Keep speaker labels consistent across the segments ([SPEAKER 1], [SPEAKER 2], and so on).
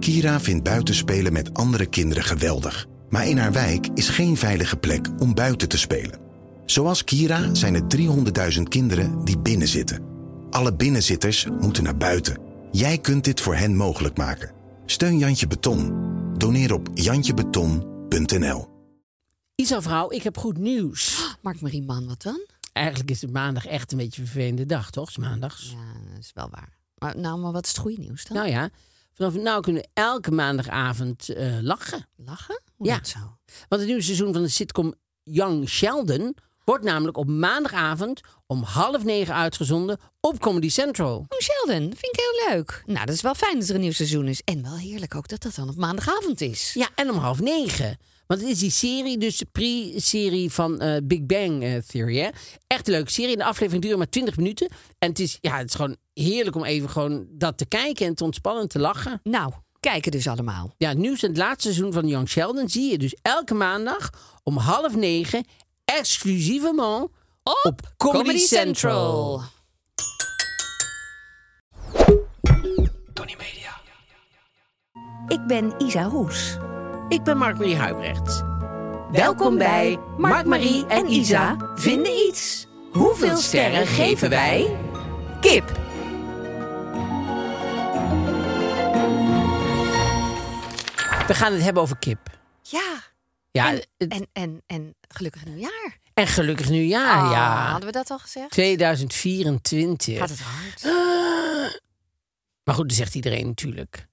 [SPEAKER 1] Kira vindt buitenspelen met andere kinderen geweldig. Maar in haar wijk is geen veilige plek om buiten te spelen. Zoals Kira zijn er 300.000 kinderen die binnenzitten. Alle binnenzitters moeten naar buiten. Jij kunt dit voor hen mogelijk maken. Steun Jantje Beton. Doneer op jantjebeton.nl.
[SPEAKER 2] Isa vrouw, ik heb goed nieuws.
[SPEAKER 3] Mark Marie Man, wat dan?
[SPEAKER 2] Eigenlijk is het maandag echt een beetje een vervelende dag, toch? Het is maandags.
[SPEAKER 3] Ja, dat is wel waar. Maar, nou, maar wat is het goede nieuws dan?
[SPEAKER 2] Nou ja, vanaf nu kunnen we elke maandagavond eh, lachen.
[SPEAKER 3] Lachen? Hoe
[SPEAKER 2] Ja.
[SPEAKER 3] dat zo? Oh,
[SPEAKER 2] Want het nieuwe seizoen van de sitcom Young Sheldon wordt namelijk op maandagavond om half negen uitgezonden op Comedy Central.
[SPEAKER 3] Oh, Sheldon, vind ik heel leuk. Nou, dat is wel fijn dat er een nieuw seizoen is. En wel heerlijk ook dat dat dan op maandagavond is.
[SPEAKER 2] Ja, en om half negen. Want het is die serie, dus de pre-serie van eh, Big Bang eh, Theory. Hè? Echt een leuke serie. En de aflevering duurt maar 20 minuten. En het is, ja, het is gewoon heerlijk om even gewoon dat te kijken en te ontspannen en te lachen.
[SPEAKER 3] Nou, kijken dus allemaal.
[SPEAKER 2] Ja, het nieuws en het laatste seizoen van Young Sheldon zie je dus elke maandag om half negen exclusievement op, Comedy, Central.
[SPEAKER 4] Ik ben Isa Hoes.
[SPEAKER 2] Ik ben Mark-Marie Huibrecht.
[SPEAKER 4] Welkom bij Mark, Marie en Isa vinden iets. Hoeveel sterren geven wij? Kip.
[SPEAKER 2] We gaan het hebben over kip.
[SPEAKER 3] Ja.
[SPEAKER 2] Ja,
[SPEAKER 3] en,
[SPEAKER 2] het-
[SPEAKER 3] en, en, en gelukkig nieuwjaar.
[SPEAKER 2] en gelukkig nieuwjaar,
[SPEAKER 3] Ah,
[SPEAKER 2] ja.
[SPEAKER 3] Hadden we dat al gezegd?
[SPEAKER 2] 2024.
[SPEAKER 3] Gaat het hard?
[SPEAKER 2] Maar goed, dat zegt iedereen natuurlijk.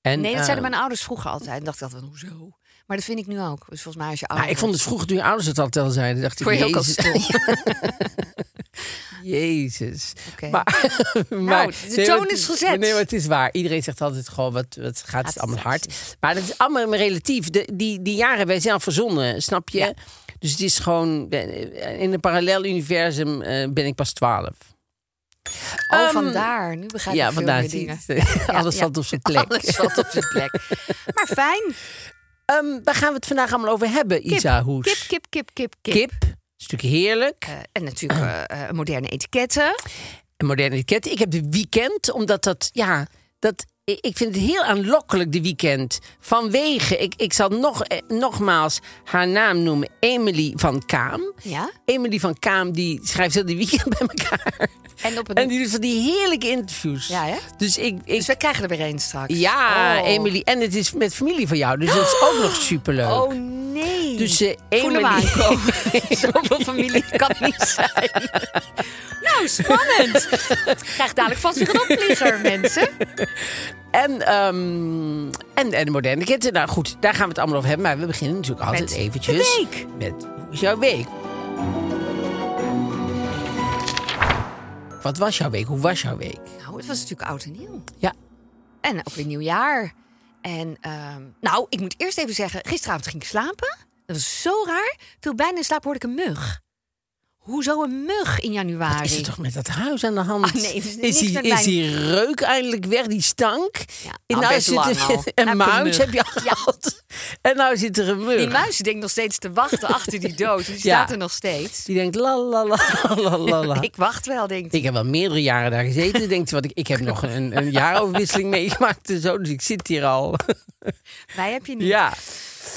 [SPEAKER 2] En,
[SPEAKER 3] Nee, dat
[SPEAKER 2] eh,
[SPEAKER 3] zeiden mijn ouders vroeger altijd. En dacht ik altijd, hoezo? Maar dat vind ik nu ook. Dus volgens mij als je
[SPEAKER 2] nou,
[SPEAKER 3] ouders...
[SPEAKER 2] ik vond het vroeger toen je ouders het altijd al zeiden. dacht ik,
[SPEAKER 3] Vond je ook al
[SPEAKER 2] jezus. Jezus.
[SPEAKER 3] Oké.
[SPEAKER 2] Maar, maar-
[SPEAKER 3] Nou, de
[SPEAKER 2] nee,
[SPEAKER 3] toon
[SPEAKER 2] maar het
[SPEAKER 3] is gezet.
[SPEAKER 2] Nee, maar het is waar. Iedereen zegt altijd gewoon, wat, wat gaat het
[SPEAKER 3] het
[SPEAKER 2] allemaal
[SPEAKER 3] straks
[SPEAKER 2] hard. Maar dat is allemaal maar relatief. De, die, die jaren hebben wij zelf verzonnen, snap je? Dus het is gewoon, eh, in een parallel universum eh, ben ik pas twaalf.
[SPEAKER 3] Oh,
[SPEAKER 2] Ehm,
[SPEAKER 3] vandaar. Nu begrijp ik
[SPEAKER 2] Ja,
[SPEAKER 3] veel
[SPEAKER 2] vandaar.
[SPEAKER 3] meer
[SPEAKER 2] zie
[SPEAKER 3] dingen.
[SPEAKER 2] je het. Alles
[SPEAKER 3] ja.
[SPEAKER 2] valt op zijn plek.
[SPEAKER 3] Alles valt op zijn plek. Maar fijn.
[SPEAKER 2] Ehm, waar gaan we het vandaag allemaal over hebben,
[SPEAKER 3] Kip,
[SPEAKER 2] Isa Hoes?
[SPEAKER 3] Kip, kip, kip, kip, kip.
[SPEAKER 2] Kip. Stuk heerlijk.
[SPEAKER 3] Eh, en natuurlijk eh, eh, moderne etiketten.
[SPEAKER 2] een moderne etiket. Ik heb de weekend, omdat dat, ja, dat, ik ik vind het heel aanlokkelijk, de weekend. Vanwege, ik, ik zal nog, eh, nogmaals haar naam noemen, Emily van Kaam.
[SPEAKER 3] Ja.
[SPEAKER 2] Emily van Kaam, die schrijft heel die weekend bij elkaar.
[SPEAKER 3] En op een...
[SPEAKER 2] En die doet van die heerlijke interviews.
[SPEAKER 3] Ja, hè?
[SPEAKER 2] Dus ik... ik
[SPEAKER 3] Dus we krijgen er weer één straks.
[SPEAKER 2] ja,
[SPEAKER 3] Oh.
[SPEAKER 2] Emily. En het is met familie van jou, dus dat is ook nog superleuk.
[SPEAKER 3] Oh, nee.
[SPEAKER 2] Dus eh,
[SPEAKER 3] Voel hem
[SPEAKER 2] Emily-
[SPEAKER 3] aankomen. Zoveel familie kan niet zijn. Nou, spannend. Krijg dadelijk vast weer een opvlieger, mensen.
[SPEAKER 2] En, ehm, en, en de moderne kitten. Nou goed, daar gaan we het allemaal over hebben. Maar we beginnen natuurlijk altijd
[SPEAKER 3] Met
[SPEAKER 2] eventjes...
[SPEAKER 3] de week.
[SPEAKER 2] Met hoe is jouw week? Wat was jouw week? Hoe was jouw week?
[SPEAKER 3] Nou, het was natuurlijk oud en nieuw.
[SPEAKER 2] Ja.
[SPEAKER 3] En ook weer nieuwjaar. En ehm, nou, ik moet eerst even zeggen, gisteravond ging ik slapen. Dat was zo raar. Viel bijna in slaap hoorde ik een mug. Hoezo een mug in januari?
[SPEAKER 2] Is het toch met dat huis aan de hand?
[SPEAKER 3] Ah, nee, het is niks
[SPEAKER 2] die,
[SPEAKER 3] met
[SPEAKER 2] is
[SPEAKER 3] mijn-
[SPEAKER 2] die reuk eindelijk weg, die stank?
[SPEAKER 3] Ja,
[SPEAKER 2] En
[SPEAKER 3] al best
[SPEAKER 2] zit
[SPEAKER 3] lang
[SPEAKER 2] er-
[SPEAKER 3] al.
[SPEAKER 2] Een
[SPEAKER 3] Nou,
[SPEAKER 2] muis
[SPEAKER 3] een
[SPEAKER 2] heb je
[SPEAKER 3] mug.
[SPEAKER 2] al gehad. En nou zit er een mug.
[SPEAKER 3] Die muis die denkt nog steeds te wachten achter die dood. Die staat er nog steeds.
[SPEAKER 2] Die denkt la la la la la la.
[SPEAKER 3] Ik wacht wel, denkt hij.
[SPEAKER 2] Ik heb wel meerdere jaren daar gezeten. Denkt, wat ik, ik heb nog een, een jaaroverwisseling meegemaakt en zo. Dus ik zit hier al.
[SPEAKER 3] Wij heb je niet.
[SPEAKER 2] Ja,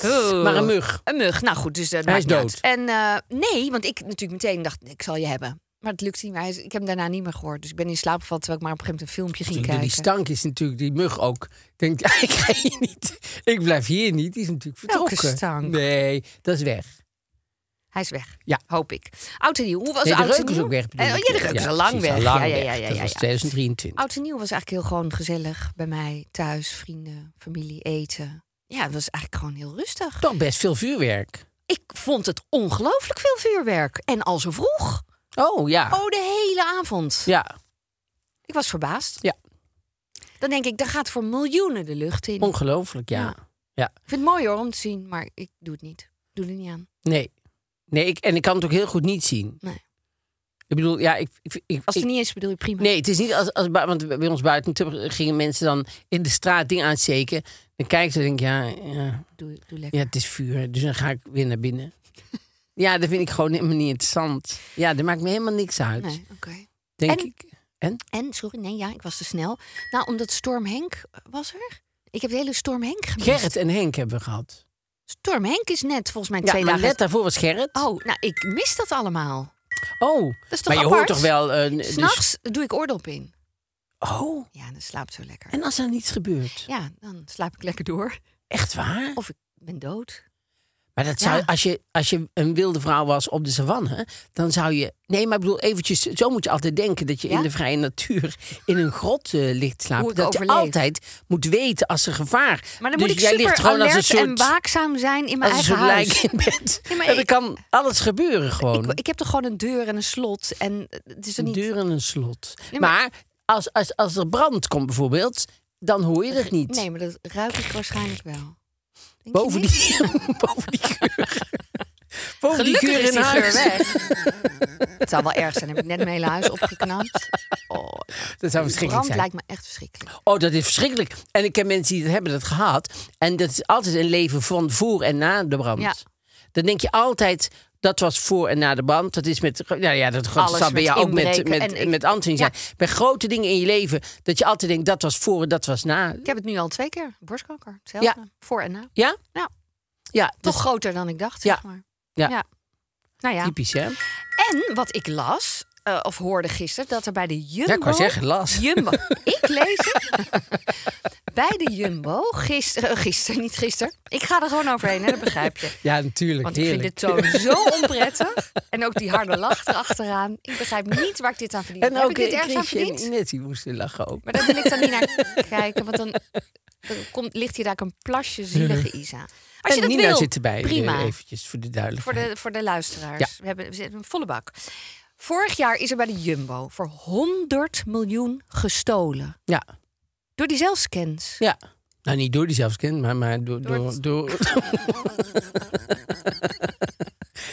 [SPEAKER 3] Oh.
[SPEAKER 2] maar een mug.
[SPEAKER 3] Een mug. Nou goed, dus dat
[SPEAKER 2] Hij
[SPEAKER 3] maakt
[SPEAKER 2] is
[SPEAKER 3] niet
[SPEAKER 2] dood.
[SPEAKER 3] uit. En eh, nee, want ik natuurlijk meteen dacht, ik zal je hebben. Maar het lukt niet meer. Hij is- Ik heb hem daarna niet meer gehoord. Dus ik ben in slaap gevallen terwijl ik maar op een gegeven moment een filmpje ging
[SPEAKER 2] Door die
[SPEAKER 3] kijken.
[SPEAKER 2] stank is natuurlijk die mug ook. Denkt, ja, ik ga hier niet. Ik blijf hier niet. Die is natuurlijk
[SPEAKER 3] Welke
[SPEAKER 2] vertrokken.
[SPEAKER 3] stank?
[SPEAKER 2] Nee, dat is weg.
[SPEAKER 3] Hij is weg.
[SPEAKER 2] Ja.
[SPEAKER 3] Hoop ik. Oud en nieuw. Hoe was
[SPEAKER 2] Nee, de
[SPEAKER 3] oud en
[SPEAKER 2] reuk is
[SPEAKER 3] nieuw?
[SPEAKER 2] ook weg. bedoel
[SPEAKER 3] Eh,
[SPEAKER 2] ik.
[SPEAKER 3] ja, de reuk is al lang
[SPEAKER 2] precies,
[SPEAKER 3] weg.
[SPEAKER 2] lang
[SPEAKER 3] ja, ja,
[SPEAKER 2] weg.
[SPEAKER 3] ja, ja,
[SPEAKER 2] dat
[SPEAKER 3] ja,
[SPEAKER 2] was
[SPEAKER 3] ja.
[SPEAKER 2] 2023.
[SPEAKER 3] Oud en nieuw was eigenlijk heel gewoon gezellig bij mij. Thuis, vrienden, familie, eten. Ja, het was eigenlijk gewoon heel rustig.
[SPEAKER 2] Toch best veel vuurwerk.
[SPEAKER 3] Ik vond het ongelooflijk veel vuurwerk. En al zo vroeg.
[SPEAKER 2] Oh ja.
[SPEAKER 3] Oh, de hele avond.
[SPEAKER 2] Ja,
[SPEAKER 3] Ik was verbaasd.
[SPEAKER 2] Ja.
[SPEAKER 3] Dan denk ik, daar gaat voor miljoenen de lucht in.
[SPEAKER 2] ongelooflijk Oh, ja.
[SPEAKER 3] Ja. Ik vind het mooi hoor om te zien, maar ik doe het niet. Doe er niet aan.
[SPEAKER 2] Nee. Nee, ik, en ik kan het ook heel goed niet zien.
[SPEAKER 3] Nee.
[SPEAKER 2] Ik bedoel, ja, ik... ik, ik
[SPEAKER 3] Als
[SPEAKER 2] ik-
[SPEAKER 3] het er niet is, bedoel je prima.
[SPEAKER 2] Nee, het is niet als, als bui- want bij ons buiten te- gingen mensen dan in de straat dingen aansteken. Dan kijk ze en denk ik, ja, ja,
[SPEAKER 3] Doe, doe lekker.
[SPEAKER 2] ja, het is vuur, dus dan ga ik weer naar binnen. Ja, dat vind ik gewoon helemaal niet interessant. Ja, dat maakt me helemaal niks uit,
[SPEAKER 3] Nee, oké.
[SPEAKER 2] denk
[SPEAKER 3] En-
[SPEAKER 2] ik. En?
[SPEAKER 3] En, sorry, nee, ja, ik was te snel. Nou, omdat Storm Henk eh, was er. Ik heb de hele Storm Henk gemist.
[SPEAKER 2] Gerrit en Henk hebben we gehad.
[SPEAKER 3] Storm Henk is net volgens mij
[SPEAKER 2] Ja,
[SPEAKER 3] twee
[SPEAKER 2] maar
[SPEAKER 3] dagen...
[SPEAKER 2] net daarvoor was Gerrit.
[SPEAKER 3] Oh, nou, ik mis dat allemaal.
[SPEAKER 2] Oh,
[SPEAKER 3] Dat is toch
[SPEAKER 2] maar je hoort
[SPEAKER 3] apart?
[SPEAKER 2] toch wel... eh, n- dus-
[SPEAKER 3] S'nachts doe ik oordop in.
[SPEAKER 2] Oh,
[SPEAKER 3] Ja, dan slaapt zo lekker.
[SPEAKER 2] en als er niets gebeurt?
[SPEAKER 3] Ja, dan slaap ik lekker door.
[SPEAKER 2] Echt waar?
[SPEAKER 3] Of ik ben dood.
[SPEAKER 2] Maar dat zou,
[SPEAKER 3] Ja.
[SPEAKER 2] als, je, als je een wilde vrouw was op de savanne, dan zou je. Nee, maar ik bedoel, eventjes, zo moet je altijd denken dat je
[SPEAKER 3] Ja?
[SPEAKER 2] in de vrije natuur in een grot eh, ligt te slapen.
[SPEAKER 3] Hoe ik
[SPEAKER 2] dat
[SPEAKER 3] overleef.
[SPEAKER 2] je altijd moet weten als er gevaar.
[SPEAKER 3] Maar
[SPEAKER 2] dus
[SPEAKER 3] dan moet ik
[SPEAKER 2] jij
[SPEAKER 3] super
[SPEAKER 2] ligt gewoon als
[SPEAKER 3] alert
[SPEAKER 2] een soort,
[SPEAKER 3] en waakzaam zijn in mijn
[SPEAKER 2] als een
[SPEAKER 3] eigen
[SPEAKER 2] soort lijk
[SPEAKER 3] huis.
[SPEAKER 2] in bed.
[SPEAKER 3] Nee, maar
[SPEAKER 2] en dan
[SPEAKER 3] ik-
[SPEAKER 2] kan alles gebeuren gewoon.
[SPEAKER 3] Ik, ik heb toch gewoon een deur en een slot. En eh, het is er
[SPEAKER 2] een
[SPEAKER 3] niet...
[SPEAKER 2] deur en een slot.
[SPEAKER 3] Nee,
[SPEAKER 2] maar
[SPEAKER 3] maar-
[SPEAKER 2] als, als, als er brand komt bijvoorbeeld, dan hoor je dat niet.
[SPEAKER 3] Nee, maar dat ruik ik waarschijnlijk wel. Denk je
[SPEAKER 2] boven,
[SPEAKER 3] niet?
[SPEAKER 2] die, boven die geur. boven die
[SPEAKER 3] Gelukkig
[SPEAKER 2] geur
[SPEAKER 3] is
[SPEAKER 2] in
[SPEAKER 3] die
[SPEAKER 2] huis.
[SPEAKER 3] geur weg. het zou wel erg zijn. Heb ik net mijn hele huis opgeknapt. Oh,
[SPEAKER 2] Dat zou verschrikkelijk
[SPEAKER 3] brand
[SPEAKER 2] zijn.
[SPEAKER 3] lijkt me echt verschrikkelijk.
[SPEAKER 2] Oh, dat is verschrikkelijk. En ik ken mensen die dat hebben dat gehad. En dat is altijd een leven van voor en na de brand.
[SPEAKER 3] Ja.
[SPEAKER 2] Dan denk je altijd, dat was voor en na de brand. Dat is met, nou ja, dat
[SPEAKER 3] Alles
[SPEAKER 2] zal bij
[SPEAKER 3] met
[SPEAKER 2] jou ook met,
[SPEAKER 3] inbreken
[SPEAKER 2] met,
[SPEAKER 3] en ik-
[SPEAKER 2] met Anthony zijn. Bij grote dingen in je leven, dat je altijd denkt, dat was voor en dat was na.
[SPEAKER 3] Ik heb het nu al twee keer. Borstkanker. Hetzelfde. Voor en na.
[SPEAKER 2] Ja?
[SPEAKER 3] Ja.
[SPEAKER 2] Ja,
[SPEAKER 3] Toch
[SPEAKER 2] toch
[SPEAKER 3] groter dan ik dacht,
[SPEAKER 2] Ja.
[SPEAKER 3] zeg maar.
[SPEAKER 2] Ja.
[SPEAKER 3] Nou ja.
[SPEAKER 2] typisch, hè?
[SPEAKER 3] En wat ik las, eh, of hoorde gisteren, dat er bij de Jumbo...
[SPEAKER 2] Ja, ik wou zeggen, las.
[SPEAKER 3] Jumbo. ik lees het. bij de Jumbo, gisteren... eh, gisteren, niet gisteren. Ik ga er gewoon overheen, hè, dat begrijp je.
[SPEAKER 2] Ja, natuurlijk.
[SPEAKER 3] Want ik
[SPEAKER 2] heerlijk.
[SPEAKER 3] vind dit toon zo onprettig. En ook die harde lach erachteraan. Ik begrijp niet waar ik dit aan verdien.
[SPEAKER 2] En
[SPEAKER 3] Heb
[SPEAKER 2] ook
[SPEAKER 3] ik dit
[SPEAKER 2] eh,
[SPEAKER 3] ergens aan
[SPEAKER 2] Chrisje en
[SPEAKER 3] verdiend?
[SPEAKER 2] Ines, die moesten lachen ook.
[SPEAKER 3] Maar daar wil ik dan niet naar kijken. Want dan, dan komt, ligt hier daar een plasje zielige Isa. Als je
[SPEAKER 2] en
[SPEAKER 3] dat
[SPEAKER 2] Nina
[SPEAKER 3] wil,
[SPEAKER 2] zit erbij, eh,
[SPEAKER 3] prima.
[SPEAKER 2] eventjes voor de
[SPEAKER 3] Voor
[SPEAKER 2] duidelijkheid.
[SPEAKER 3] de, voor de luisteraars.
[SPEAKER 2] Ja.
[SPEAKER 3] We, hebben, we zitten een volle bak. Vorig jaar is er bij de Jumbo voor 100 miljoen gestolen.
[SPEAKER 2] Ja,
[SPEAKER 3] Door die zelfscans.
[SPEAKER 2] ja. Nou, niet door die zelfscan, maar, maar door... door,
[SPEAKER 3] Door
[SPEAKER 2] door,
[SPEAKER 3] het-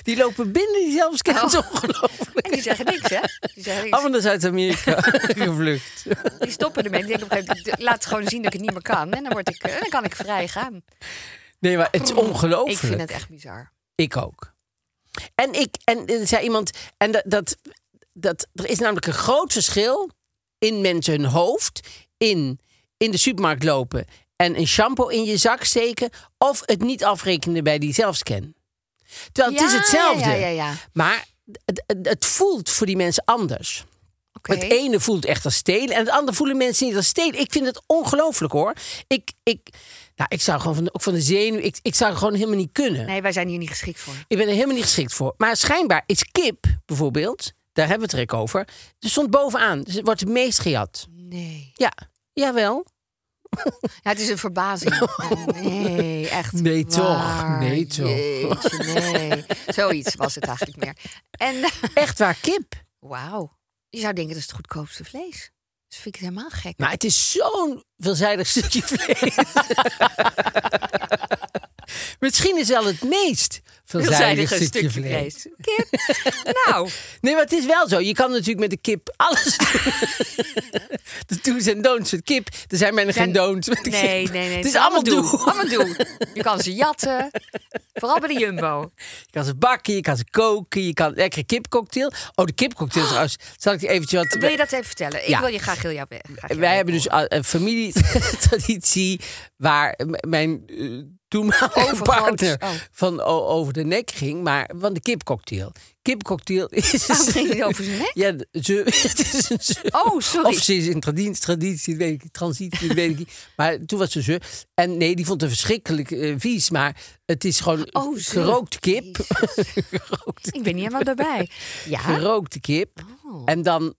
[SPEAKER 2] die lopen binnen die zelfscans, ongelooflijk.
[SPEAKER 3] En die zeggen niks, hè? Die, zeggen niks.
[SPEAKER 2] Allemaal naar Zuid-Amerika gevlucht.
[SPEAKER 3] die stoppen ermee. Ik denk op een gegeven moment, laat gewoon zien dat ik het niet meer kan. En dan, word ik, eh, dan kan ik vrij gaan.
[SPEAKER 2] Nee, maar het is
[SPEAKER 3] Ik
[SPEAKER 2] ongelooflijk.
[SPEAKER 3] vind het echt bizar.
[SPEAKER 2] Ik ook. En ik, en er zei iemand, en dat, dat, dat, er is namelijk een groot verschil in mensen hun hoofd, in, in de supermarkt lopen en een shampoo in je zak steken, of het niet afrekenen bij die zelfscan. Terwijl het is
[SPEAKER 3] Ja,
[SPEAKER 2] hetzelfde,
[SPEAKER 3] Ja, ja, ja.
[SPEAKER 2] maar het, het, het voelt voor die mensen anders.
[SPEAKER 3] Oké.
[SPEAKER 2] Het ene voelt echt als stelen en het andere voelen mensen niet als stelen. Ik vind het ongelooflijk hoor. Ik, ik, nou, ik zou gewoon van de, ook van de zenuw, ik, ik zou gewoon helemaal niet kunnen.
[SPEAKER 3] Nee, wij zijn hier niet geschikt voor.
[SPEAKER 2] Ik ben er helemaal niet geschikt voor. Maar schijnbaar is kip bijvoorbeeld, daar hebben we het er ook over, er stond bovenaan. Dus het wordt het meest gejat.
[SPEAKER 3] Nee.
[SPEAKER 2] Ja, jawel.
[SPEAKER 3] Ja, het is een verbazing. Ja, nee, echt
[SPEAKER 2] Nee, toch.
[SPEAKER 3] waar.
[SPEAKER 2] Nee, toch.
[SPEAKER 3] Jeetje, nee. Zoiets was het eigenlijk meer. En
[SPEAKER 2] Echt waar, kip.
[SPEAKER 3] wauw. Je zou denken, dat is het goedkoopste vlees. Dus vind ik het helemaal gek.
[SPEAKER 2] Maar het is zo'n veelzijdig stukje vlees. Misschien is wel het meest veelzijdig
[SPEAKER 3] Veelzijdige
[SPEAKER 2] stukje, vlees.
[SPEAKER 3] Kip. nou,
[SPEAKER 2] Nee, maar het is wel zo. Je kan natuurlijk met de kip alles doen. de do's en don'ts met kip. Er zijn bijna geen
[SPEAKER 3] En-
[SPEAKER 2] don'ts met de
[SPEAKER 3] nee,
[SPEAKER 2] kip.
[SPEAKER 3] nee, nee.
[SPEAKER 2] Het is allemaal doe.
[SPEAKER 3] Allemaal doe. Je kan ze jatten. Vooral bij de Jumbo.
[SPEAKER 2] Je kan ze bakken, je kan ze koken, je kan lekkere kipcocktail. Oh, de kipcocktail trouwens. Zal ik je eventjes wat...
[SPEAKER 3] Wil je dat even vertellen? Ik
[SPEAKER 2] Ja.
[SPEAKER 3] wil je graag heel jouw weg. graag
[SPEAKER 2] Wij
[SPEAKER 3] jouw weg
[SPEAKER 2] hebben dus
[SPEAKER 3] horen.
[SPEAKER 2] al- een familietraditie waar m- mijn eh, toenmalige
[SPEAKER 3] Overgroots.
[SPEAKER 2] partner
[SPEAKER 3] Oh.
[SPEAKER 2] van o- over de nek ging, maar van de kipcocktail. Kipcocktail is... dus-
[SPEAKER 3] Waarom Oh, ging die over zijn nek?
[SPEAKER 2] Ja, ze, het is een ze.
[SPEAKER 3] Oh, sorry.
[SPEAKER 2] Of ze is in traditie, traditie, dat weet ik, niet, transitie, dat weet ik niet. Maar toen was ze ze. En nee, die vond het verschrikkelijk eh, vies. Maar het is gewoon
[SPEAKER 3] Oh, zo.
[SPEAKER 2] gerookt kip.
[SPEAKER 3] Jezus. Ik ben niet helemaal daarbij. Ja?
[SPEAKER 2] Gerookte kip.
[SPEAKER 3] Oh.
[SPEAKER 2] En dan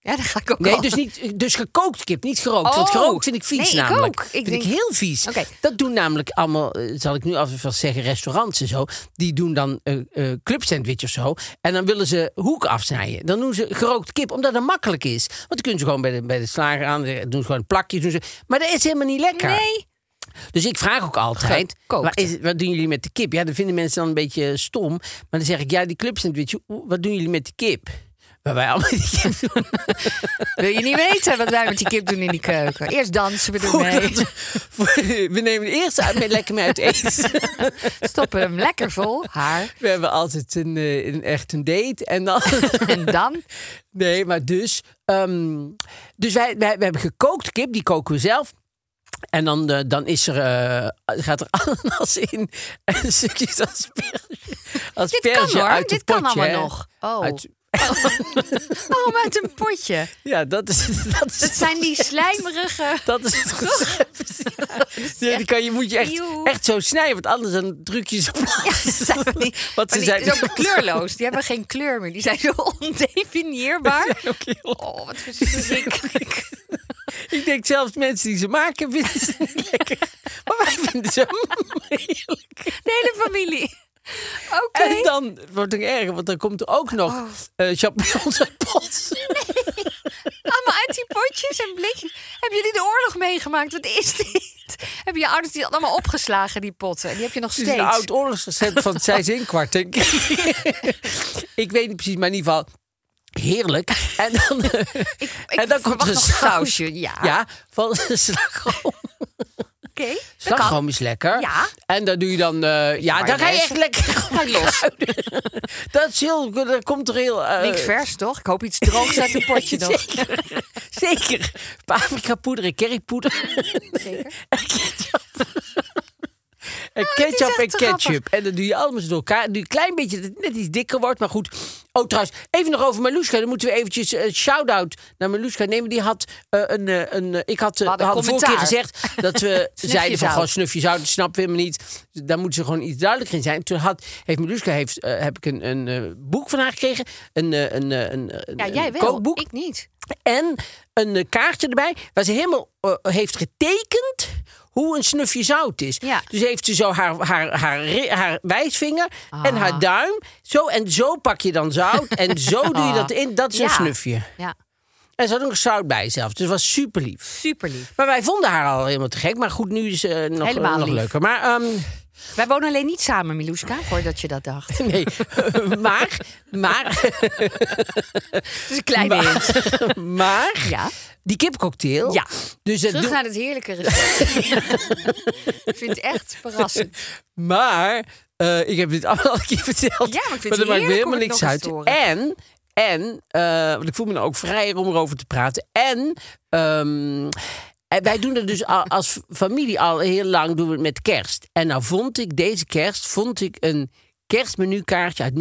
[SPEAKER 3] Ja, daar ga ik ook
[SPEAKER 2] Nee,
[SPEAKER 3] al.
[SPEAKER 2] dus, niet, dus gekookt kip, niet gerookt.
[SPEAKER 3] Oh.
[SPEAKER 2] Want gerookt vind ik vies
[SPEAKER 3] Nee, ik
[SPEAKER 2] namelijk.
[SPEAKER 3] ook. Ik
[SPEAKER 2] vind
[SPEAKER 3] denk-
[SPEAKER 2] ik heel vies.
[SPEAKER 3] Oké.
[SPEAKER 2] Dat doen namelijk allemaal, eh, zal ik nu alvast zeggen, restaurants en zo. Die doen dan eh eh, clubsandwich of zo. En dan willen ze hoek afsnijden. Dan doen ze gerookt kip, omdat dat makkelijk is. Want dan kunnen ze gewoon bij de, bij de slager aan, eh, doen ze gewoon plakjes. Doen ze, maar dat is helemaal niet lekker.
[SPEAKER 3] Nee.
[SPEAKER 2] Dus ik vraag ook altijd,
[SPEAKER 3] Gekookt.
[SPEAKER 2] wat, is, wat doen jullie met de kip? Ja, dat vinden mensen dan een beetje eh, stom. Maar dan zeg ik, ja, die clubsandwich, oeh, wat doen jullie met de kip? Waarbij allemaal die kip
[SPEAKER 3] Wil je niet weten wat wij met die kip doen in die keuken? Eerst dansen we ermee.
[SPEAKER 2] Goed, we- we nemen de eerste uit met lekker mee uit eten.
[SPEAKER 3] Stoppen hem lekker vol, haar.
[SPEAKER 2] We hebben altijd een, eh, een echt een date. En dan,
[SPEAKER 3] En dan?
[SPEAKER 2] nee, maar dus. ehm, dus wij, wij, we hebben gekookt kip, die koken we zelf. En dan, eh, dan is er, eh, gaat er ananas in en stukjes asperge,
[SPEAKER 3] Dit kan
[SPEAKER 2] asperge
[SPEAKER 3] hoor,
[SPEAKER 2] uit
[SPEAKER 3] dit
[SPEAKER 2] het potje.
[SPEAKER 3] kan allemaal
[SPEAKER 2] hè.
[SPEAKER 3] nog. Oh,
[SPEAKER 2] Uit-
[SPEAKER 3] waarom uit een potje?
[SPEAKER 2] ja, dat is, dat is
[SPEAKER 3] Dat zijn die slijmerige...
[SPEAKER 2] Dat is het recept. Nee, die kan je, moet je echt,
[SPEAKER 3] Eeuw.
[SPEAKER 2] echt zo snijden, want anders dan druk je ze op.
[SPEAKER 3] ze zijn van die-
[SPEAKER 2] Want
[SPEAKER 3] Maar
[SPEAKER 2] ze
[SPEAKER 3] die
[SPEAKER 2] zijn
[SPEAKER 3] is ook kleurloos. Die hebben geen kleur meer. Die zijn zo ondefinieerbaar.
[SPEAKER 2] ook heel-
[SPEAKER 3] Oh, wat verschrikkelijk.
[SPEAKER 2] Ik denk zelfs mensen die ze maken vinden ze niet lekker. Maar wij vinden ze helemaal heerlijk.
[SPEAKER 3] De hele familie. Oké.
[SPEAKER 2] En dan wordt het nog erger, want dan komt er ook nog
[SPEAKER 3] Oh.
[SPEAKER 2] eh champignons uit pot.
[SPEAKER 3] Allemaal uit die potjes en blikjes. Hebben jullie de oorlog meegemaakt? Wat is dit? Hebben je ouders die allemaal opgeslagen, die potten? Die heb je nog
[SPEAKER 2] Het
[SPEAKER 3] steeds.
[SPEAKER 2] is Dus een oud oorlogsrecept van zij in kwart, denk ik. ik weet niet precies, maar in ieder geval heerlijk. En dan, eh,
[SPEAKER 3] Ik
[SPEAKER 2] en dan komt
[SPEAKER 3] verwacht
[SPEAKER 2] er een
[SPEAKER 3] nog een sausje. Ja,
[SPEAKER 2] Ja, van slagroom.
[SPEAKER 3] oké. dat kan.
[SPEAKER 2] Slagroom is lekker.
[SPEAKER 3] Ja.
[SPEAKER 2] En daar doe je dan... eh, ja, dan ga je
[SPEAKER 3] mayonaise.
[SPEAKER 2] echt lekker
[SPEAKER 3] Ga je los.
[SPEAKER 2] Dat is heel... Dat komt er heel... eh,
[SPEAKER 3] Niks vers, toch? Ik hoop iets droogs uit een potje nog.
[SPEAKER 2] Zeker. Zeker. Paprika poeder en currypoeder.
[SPEAKER 3] Zeker.
[SPEAKER 2] En ketchup. En
[SPEAKER 3] Oh, is echt
[SPEAKER 2] ketchup en
[SPEAKER 3] te
[SPEAKER 2] ketchup.
[SPEAKER 3] grappig.
[SPEAKER 2] En dat doe je allemaal door elkaar. Doe je een klein beetje dat het net iets dikker wordt. Maar goed. Oh, trouwens, even nog over Maluska. Dan moeten we eventjes een shout-out naar Maluska nemen. Die had eh, een... eh, een eh, ik had, eh,
[SPEAKER 3] We hadden
[SPEAKER 2] had de vorige keer
[SPEAKER 3] commentaar.
[SPEAKER 2] gezegd dat we zeiden van...
[SPEAKER 3] zout.
[SPEAKER 2] Gewoon snufjes zout, dat snappen we helemaal niet. Daar moeten ze gewoon iets duidelijker in zijn. Toen had, heeft Maluska heeft, eh, heb ik een, een eh, boek van haar gekregen. Een, eh, een, eh, een, een,
[SPEAKER 3] Ja,
[SPEAKER 2] een
[SPEAKER 3] jij wel.
[SPEAKER 2] kookboek.
[SPEAKER 3] Ik niet.
[SPEAKER 2] En een eh, kaartje erbij waar ze helemaal eh, heeft getekend hoe een snufje zout is.
[SPEAKER 3] Ja.
[SPEAKER 2] Dus heeft ze zo haar, haar, haar, ri- haar wijsvinger
[SPEAKER 3] Ah.
[SPEAKER 2] en haar duim. Zo en zo pak je dan zout en zo doe je dat in. Dat is een
[SPEAKER 3] Ah. Ja.
[SPEAKER 2] snufje.
[SPEAKER 3] Ja,
[SPEAKER 2] En ze had ook nog zout bij zelf. Dus het was super lief.
[SPEAKER 3] super lief.
[SPEAKER 2] Maar wij vonden haar al helemaal te gek. Maar goed, nu is ze eh, nog,
[SPEAKER 3] Helemaal
[SPEAKER 2] nog
[SPEAKER 3] lief.
[SPEAKER 2] leuker. Maar, ehm,
[SPEAKER 3] Wij wonen alleen niet samen, Miluska, voordat je dat dacht.
[SPEAKER 2] nee. maar, maar,
[SPEAKER 3] Het is een kleine hint.
[SPEAKER 2] maar,
[SPEAKER 3] Ja.
[SPEAKER 2] die kipcocktail.
[SPEAKER 3] Ja.
[SPEAKER 2] Dus dat
[SPEAKER 3] Terug
[SPEAKER 2] doe-
[SPEAKER 3] naar het heerlijke recept. ik vind het echt verrassend.
[SPEAKER 2] Maar eh, ik heb dit allemaal al een keer verteld.
[SPEAKER 3] Ja, maar ik vind het
[SPEAKER 2] dat maakt weer
[SPEAKER 3] heerlijk om
[SPEAKER 2] helemaal
[SPEAKER 3] het
[SPEAKER 2] niks
[SPEAKER 3] nog eens
[SPEAKER 2] uit.
[SPEAKER 3] te horen.
[SPEAKER 2] En, en eh, want ik voel me nou ook vrijer om erover te praten. En, ehm, en wij doen dat dus al, als familie al heel lang doen we het met kerst. En nou vond ik deze kerst vond ik een kerstmenukaartje uit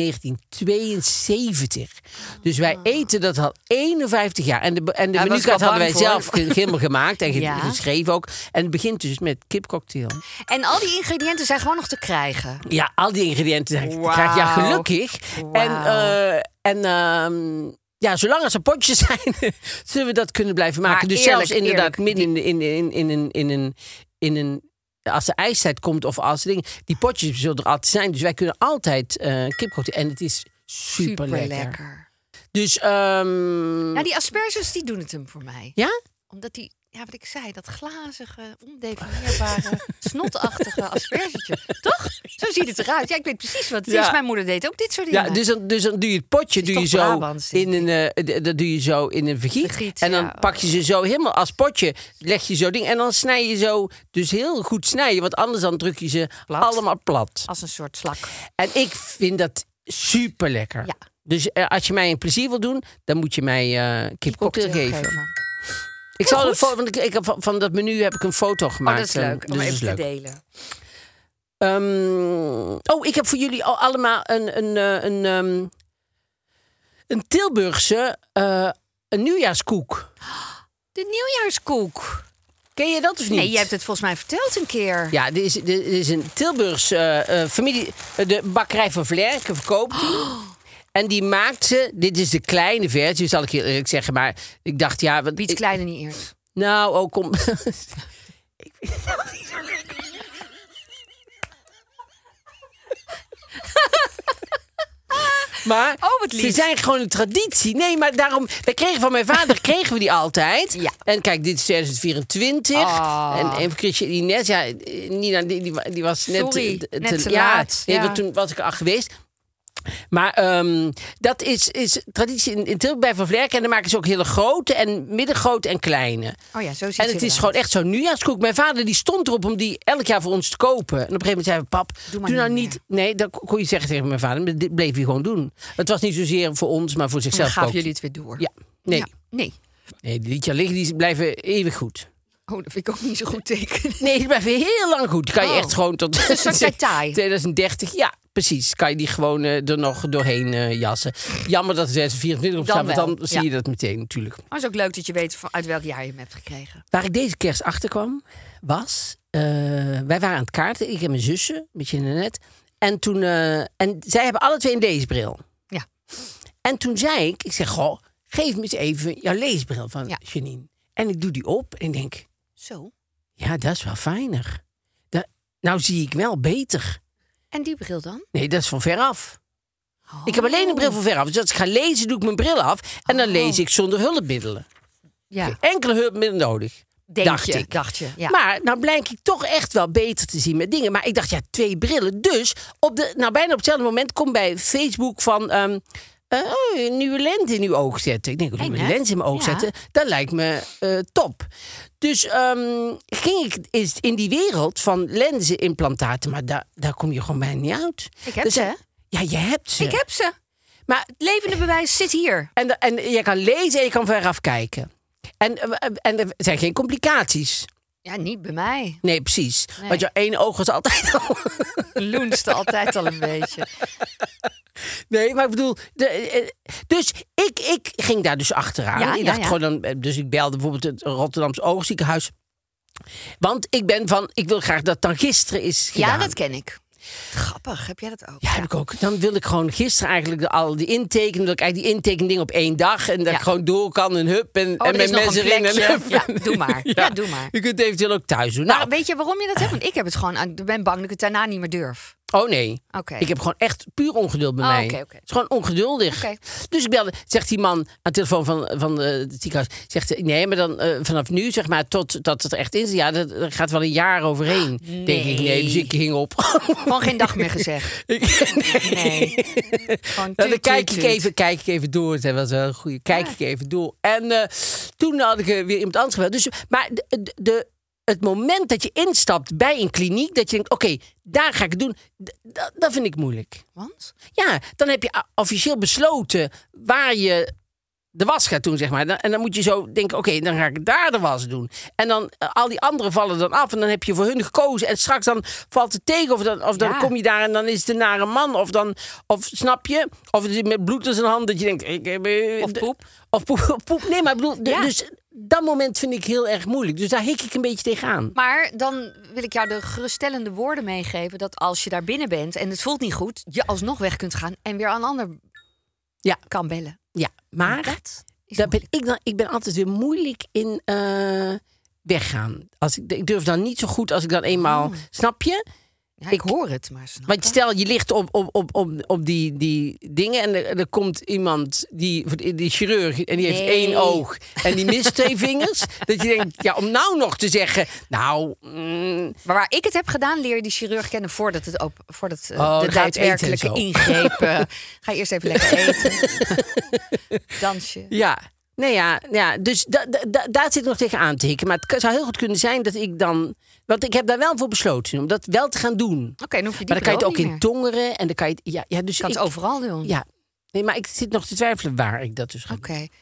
[SPEAKER 2] 1972. Dus wij eten dat al 51 jaar. En de, be- en de
[SPEAKER 3] Daar Ah. was ik
[SPEAKER 2] menukaart
[SPEAKER 3] al
[SPEAKER 2] hadden wij
[SPEAKER 3] bang
[SPEAKER 2] zelf
[SPEAKER 3] voor.
[SPEAKER 2] ge- helemaal gemaakt en ge-
[SPEAKER 3] Ja.
[SPEAKER 2] geschreven ook. En het begint dus met kipcocktail.
[SPEAKER 3] En al die ingrediënten zijn gewoon nog te krijgen.
[SPEAKER 2] Ja, al die ingrediënten zijn-
[SPEAKER 3] Wauw.
[SPEAKER 2] krijg je ja, gelukkig. En,
[SPEAKER 3] Wauw.
[SPEAKER 2] eh, en ehm, ja, zolang er potjes zijn, zullen we dat kunnen blijven maken.
[SPEAKER 3] Maar
[SPEAKER 2] dus
[SPEAKER 3] eerlijk,
[SPEAKER 2] zelfs inderdaad
[SPEAKER 3] eerlijk,
[SPEAKER 2] midden in, in, in, in, een- in, een- in een... Als de ijstijd komt of als dingen... Die potjes zullen er altijd zijn. Dus wij kunnen altijd eh kipcocktail. En het is super lekker.
[SPEAKER 3] lekker.
[SPEAKER 2] Dus ehm,
[SPEAKER 3] Nou, die asperges die doen het hem voor mij.
[SPEAKER 2] ja,
[SPEAKER 3] Omdat die, ja, wat ik zei, dat glazige, ondefinieerbare, snotachtige aspergetje. Toch? Zo ziet het eruit. Ja, ik weet precies wat het
[SPEAKER 2] Ja.
[SPEAKER 3] is. Mijn moeder deed ook dit soort dingen.
[SPEAKER 2] ja dus, dan, dus dan doe je het potje
[SPEAKER 3] Het is
[SPEAKER 2] doe je
[SPEAKER 3] toch
[SPEAKER 2] zo
[SPEAKER 3] Brabants, denk
[SPEAKER 2] in een, eh, d- dat doe je zo in een vergiet.
[SPEAKER 3] Vergiet,
[SPEAKER 2] en dan
[SPEAKER 3] ja. oh.
[SPEAKER 2] pak je ze zo helemaal als potje. Leg je zo ding en dan snij je zo. Dus heel goed snijden, want anders dan druk je ze
[SPEAKER 3] Plat.
[SPEAKER 2] allemaal plat.
[SPEAKER 3] Als een soort slak.
[SPEAKER 2] En ik vind dat super lekker.
[SPEAKER 3] Ja.
[SPEAKER 2] Dus eh, als je mij een plezier wil doen, dan moet je mij eh kipcocktail
[SPEAKER 3] Cocktail
[SPEAKER 2] geven.
[SPEAKER 3] geven. Oh,
[SPEAKER 2] Ik zal
[SPEAKER 3] goed.
[SPEAKER 2] een foto, want ik, ik heb van, van dat menu heb ik een foto
[SPEAKER 3] Oh,
[SPEAKER 2] gemaakt.
[SPEAKER 3] dat is
[SPEAKER 2] eh,
[SPEAKER 3] leuk.
[SPEAKER 2] dus
[SPEAKER 3] Om
[SPEAKER 2] dat is
[SPEAKER 3] even te
[SPEAKER 2] leuk.
[SPEAKER 3] delen.
[SPEAKER 2] Ehm, oh, ik heb voor jullie al allemaal een, een, eh, een, ehm, een Tilburgse eh, een nieuwjaarskoek.
[SPEAKER 3] De nieuwjaarskoek.
[SPEAKER 2] Ken je dat of niet?
[SPEAKER 3] Nee, je hebt het volgens mij verteld een keer.
[SPEAKER 2] Ja, dit is, dit is een Tilburgse eh, eh, familie. eh, De bakkerij van Vlerken verkoopt die.
[SPEAKER 3] Oh.
[SPEAKER 2] En die maakt ze. Dit is de kleine versie, zal ik je eerlijk zeggen. Maar ik dacht, ja. Wat,
[SPEAKER 3] Biedt
[SPEAKER 2] ik-
[SPEAKER 3] kleine niet eerst.
[SPEAKER 2] nou, ook om. Maar
[SPEAKER 3] Oh, wat lief.
[SPEAKER 2] ze zijn gewoon een traditie. Nee, maar daarom, wij kregen van mijn vader kregen we die altijd.
[SPEAKER 3] Ja.
[SPEAKER 2] En kijk, dit is 2024.
[SPEAKER 3] Ah.
[SPEAKER 2] En, en Chrisje Ines, ja, eh, Nina, die, die, die was net,
[SPEAKER 3] Sorry,
[SPEAKER 2] eh,
[SPEAKER 3] net te
[SPEAKER 2] ja,
[SPEAKER 3] laat.
[SPEAKER 2] nee,
[SPEAKER 3] Ja.
[SPEAKER 2] want Toen was ik er al geweest. Maar ehm, dat is, is traditie in, in Tilburg bij Van Vlerken. En dan maken ze ook hele grote en middengrote en kleine.
[SPEAKER 3] Oh ja, zo ziet
[SPEAKER 2] En het is gewoon echt zo'n nieuwjaarskoek. Mijn vader die stond erop om die elk jaar voor ons te kopen. En op een gegeven moment zei we, pap, doe,
[SPEAKER 3] Doe maar
[SPEAKER 2] nou
[SPEAKER 3] niet
[SPEAKER 2] niet. Nee, dat kon je zeggen tegen mijn vader. Maar dit bleef hij gewoon doen. Het was niet zozeer voor ons, maar voor
[SPEAKER 3] Oh, Dan
[SPEAKER 2] zichzelf
[SPEAKER 3] gaven
[SPEAKER 2] ook.
[SPEAKER 3] jullie het weer door.
[SPEAKER 2] Ja, nee.
[SPEAKER 3] Ja, nee.
[SPEAKER 2] nee. Die liedjes liggen, die blijven eeuwig goed.
[SPEAKER 3] Oh, dat vind ik ook niet zo'n goed teken.
[SPEAKER 2] Nee, die blijven heel lang goed. Die kan je
[SPEAKER 3] Oh.
[SPEAKER 2] echt gewoon tot
[SPEAKER 3] is een soort tai-tai.
[SPEAKER 2] 2030. Ja, precies. Kan je die gewoon eh, er nog doorheen eh, jassen. Jammer dat er 2024 op
[SPEAKER 3] Dan
[SPEAKER 2] staat, want dan
[SPEAKER 3] wel,
[SPEAKER 2] zie
[SPEAKER 3] ja.
[SPEAKER 2] je dat meteen natuurlijk.
[SPEAKER 3] Maar het is ook leuk dat je weet van uit welk jaar je hem hebt gekregen.
[SPEAKER 2] Waar ik deze kerst achter kwam, was. eh, wij waren aan het kaarten, ik en mijn zusje, met je net. En toen. eh, en zij hebben alle twee een leesbril.
[SPEAKER 3] Ja.
[SPEAKER 2] En toen zei ik, ik zeg, goh, geef me eens even jouw leesbril van
[SPEAKER 3] Ja.
[SPEAKER 2] Janine. En ik doe die op en ik denk,
[SPEAKER 3] Zo.
[SPEAKER 2] ja, dat is wel fijner. Da- nou zie ik wel beter.
[SPEAKER 3] En die bril dan?
[SPEAKER 2] Nee, dat is van veraf.
[SPEAKER 3] Oh.
[SPEAKER 2] Ik heb alleen een bril van veraf. Dus als ik ga lezen, doe ik mijn bril af. En dan
[SPEAKER 3] Oh.
[SPEAKER 2] lees ik zonder hulpmiddelen.
[SPEAKER 3] Ja,
[SPEAKER 2] Enkele hulpmiddelen nodig.
[SPEAKER 3] denk
[SPEAKER 2] dacht
[SPEAKER 3] je.
[SPEAKER 2] ik.
[SPEAKER 3] Dacht je. Ja.
[SPEAKER 2] Maar nou blijk ik toch echt wel beter te zien met dingen. Maar ik dacht, ja, twee brillen. Dus op de, nou, bijna op hetzelfde moment komt bij Facebook van... ehm, eh, oh, een nieuwe lens in uw oog zetten. Ik denk, een
[SPEAKER 3] Eng,
[SPEAKER 2] nieuwe
[SPEAKER 3] hè?
[SPEAKER 2] lens in mijn oog
[SPEAKER 3] Ja.
[SPEAKER 2] zetten, dat lijkt me eh, top. Dus ehm, ging ik eens in die wereld van lenzenimplantaten. Maar daar, daar kom je gewoon bijna niet uit.
[SPEAKER 3] Ik heb
[SPEAKER 2] Dus-
[SPEAKER 3] ze, hè?
[SPEAKER 2] Ja, je hebt ze.
[SPEAKER 3] Ik heb ze.
[SPEAKER 2] Maar
[SPEAKER 3] Het levende bewijs zit hier.
[SPEAKER 2] en, en je kan lezen en je kan veraf kijken. En, eh, en er zijn geen complicaties.
[SPEAKER 3] Ja, niet bij mij.
[SPEAKER 2] Nee, precies.
[SPEAKER 3] Nee.
[SPEAKER 2] Want jouw ene oog was altijd al...
[SPEAKER 3] Loenste altijd al een beetje.
[SPEAKER 2] Nee, maar ik bedoel... de- eh, dus ik, ik ging daar dus achteraan.
[SPEAKER 3] Ja,
[SPEAKER 2] ik
[SPEAKER 3] ja,
[SPEAKER 2] dacht
[SPEAKER 3] ja.
[SPEAKER 2] gewoon dan... eh, Dus ik belde bijvoorbeeld het Rotterdamse Oogziekenhuis. Want ik ben van... Ik wil graag dat dan gisteren is gedaan.
[SPEAKER 3] Ja, dat ken ik. Grappig, heb jij dat ook?
[SPEAKER 2] Ja, heb ik ook. Dan wil ik gewoon gisteren eigenlijk de- al die intekenen. Dat ik eigenlijk die intekendingen op één dag. En dat
[SPEAKER 3] Ja.
[SPEAKER 2] ik gewoon door kan en hup. En,
[SPEAKER 3] Oh,
[SPEAKER 2] en
[SPEAKER 3] er is
[SPEAKER 2] mijn
[SPEAKER 3] nog
[SPEAKER 2] mensen erin.
[SPEAKER 3] een
[SPEAKER 2] En
[SPEAKER 3] plekje.
[SPEAKER 2] hup.
[SPEAKER 3] Ja, doe maar. Ja, doe maar.
[SPEAKER 2] Je kunt het eventueel ook thuis doen.
[SPEAKER 3] Nou,
[SPEAKER 2] Nou,
[SPEAKER 3] weet je waarom je dat hebt? Want ik heb het gewoon. aan- Ik ben bang dat ik het daarna niet meer durf.
[SPEAKER 2] Oh nee.
[SPEAKER 3] Oké.
[SPEAKER 2] Ik heb gewoon echt puur ongeduld bij
[SPEAKER 3] Oh,
[SPEAKER 2] mij.
[SPEAKER 3] oké, oké.
[SPEAKER 2] Het is gewoon ongeduldig.
[SPEAKER 3] Oké.
[SPEAKER 2] Dus ik belde, zegt die man aan de telefoon van, van eh, het ziekenhuis. Zegt hij, nee, maar dan eh, vanaf nu, zeg maar, tot dat het er echt is. Ja, dat, dat gaat wel een jaar overheen. Denk ik, nee. Dus ik hing op.
[SPEAKER 3] Ah, Gewoon geen dag meer gezegd.
[SPEAKER 2] Ik- nee.
[SPEAKER 3] Nee. Gewoon
[SPEAKER 2] Nou, dan
[SPEAKER 3] tuut,
[SPEAKER 2] kijk
[SPEAKER 3] tuut,
[SPEAKER 2] ik
[SPEAKER 3] tuut.
[SPEAKER 2] even, kijk ik even door. Dat was wel een goede. Kijk ik even door. En eh, toen had ik eh, weer iemand anders gebeld. Dus, maar de, de- de, het moment dat je instapt bij een kliniek, dat je denkt: oké, daar ga ik het doen, d- dat- dat vind ik moeilijk.
[SPEAKER 3] Want?
[SPEAKER 2] Ja, dan heb je a- officieel besloten waar je de was gaat doen, zeg maar. Dan- En dan moet je zo denken, oké, dan ga ik daar de was doen. En dan, eh, al die anderen vallen dan af en dan heb je voor hun gekozen. En straks dan valt het tegen of dan, of dan
[SPEAKER 3] Ja.
[SPEAKER 2] kom je daar en dan is het een nare man. Of dan, of snap je? Of het is met bloed in zijn hand dat je denkt... Ik, heb, eh,
[SPEAKER 3] Of
[SPEAKER 2] de-
[SPEAKER 3] poep.
[SPEAKER 2] Of poep, of poep. Nee, maar ik bedoel, de-
[SPEAKER 3] Ja.
[SPEAKER 2] dus dat moment vind ik heel erg moeilijk. Dus daar hik ik een beetje tegenaan.
[SPEAKER 3] Maar dan wil ik jou de geruststellende woorden meegeven dat als je daar binnen bent en het voelt niet goed, je alsnog weg kunt gaan en weer aan een ander
[SPEAKER 2] Ja.
[SPEAKER 3] kan bellen.
[SPEAKER 2] Ja, maar...
[SPEAKER 3] Dat is
[SPEAKER 2] Daar ben
[SPEAKER 3] moeilijk.
[SPEAKER 2] ik, dan, ik ben altijd weer moeilijk in eh, weggaan. Als ik, ik durf dan niet zo goed als ik dan eenmaal. Snap je?
[SPEAKER 3] Ja, ik, hoor het, maar snap
[SPEAKER 2] Want stel, je ligt op, op, op, op, op die, die dingen en er, er komt iemand, die, die chirurg, en die heeft
[SPEAKER 3] Nee.
[SPEAKER 2] één oog en die mist twee vingers. Dat je denkt, ja, om nou nog te zeggen, nou, mm,
[SPEAKER 3] Maar waar ik het heb gedaan, leer je die chirurg kennen voordat, het op, voordat eh,
[SPEAKER 2] Oh, dan
[SPEAKER 3] de
[SPEAKER 2] ga je het eten en
[SPEAKER 3] daadwerkelijke
[SPEAKER 2] zo.
[SPEAKER 3] ingreep. eh, ga je eerst even lekker eten. Dansje.
[SPEAKER 2] ja. Nee, ja, ja, dus da, da, da- daar zit ik nog tegen aan te hikken. Maar het k- zou heel goed kunnen zijn dat ik dan... Want ik heb daar wel voor besloten om dat wel te gaan doen.
[SPEAKER 3] Oké, dan hoef je die
[SPEAKER 2] Maar dan kan je het
[SPEAKER 3] bril
[SPEAKER 2] ook in
[SPEAKER 3] niet meer.
[SPEAKER 2] tongeren en dan kan je het. Ja, ja dus
[SPEAKER 3] Je kan het
[SPEAKER 2] ik-
[SPEAKER 3] overal doen.
[SPEAKER 2] Ja. Nee, maar ik zit nog te twijfelen waar ik dat dus ga doen.
[SPEAKER 3] Oké.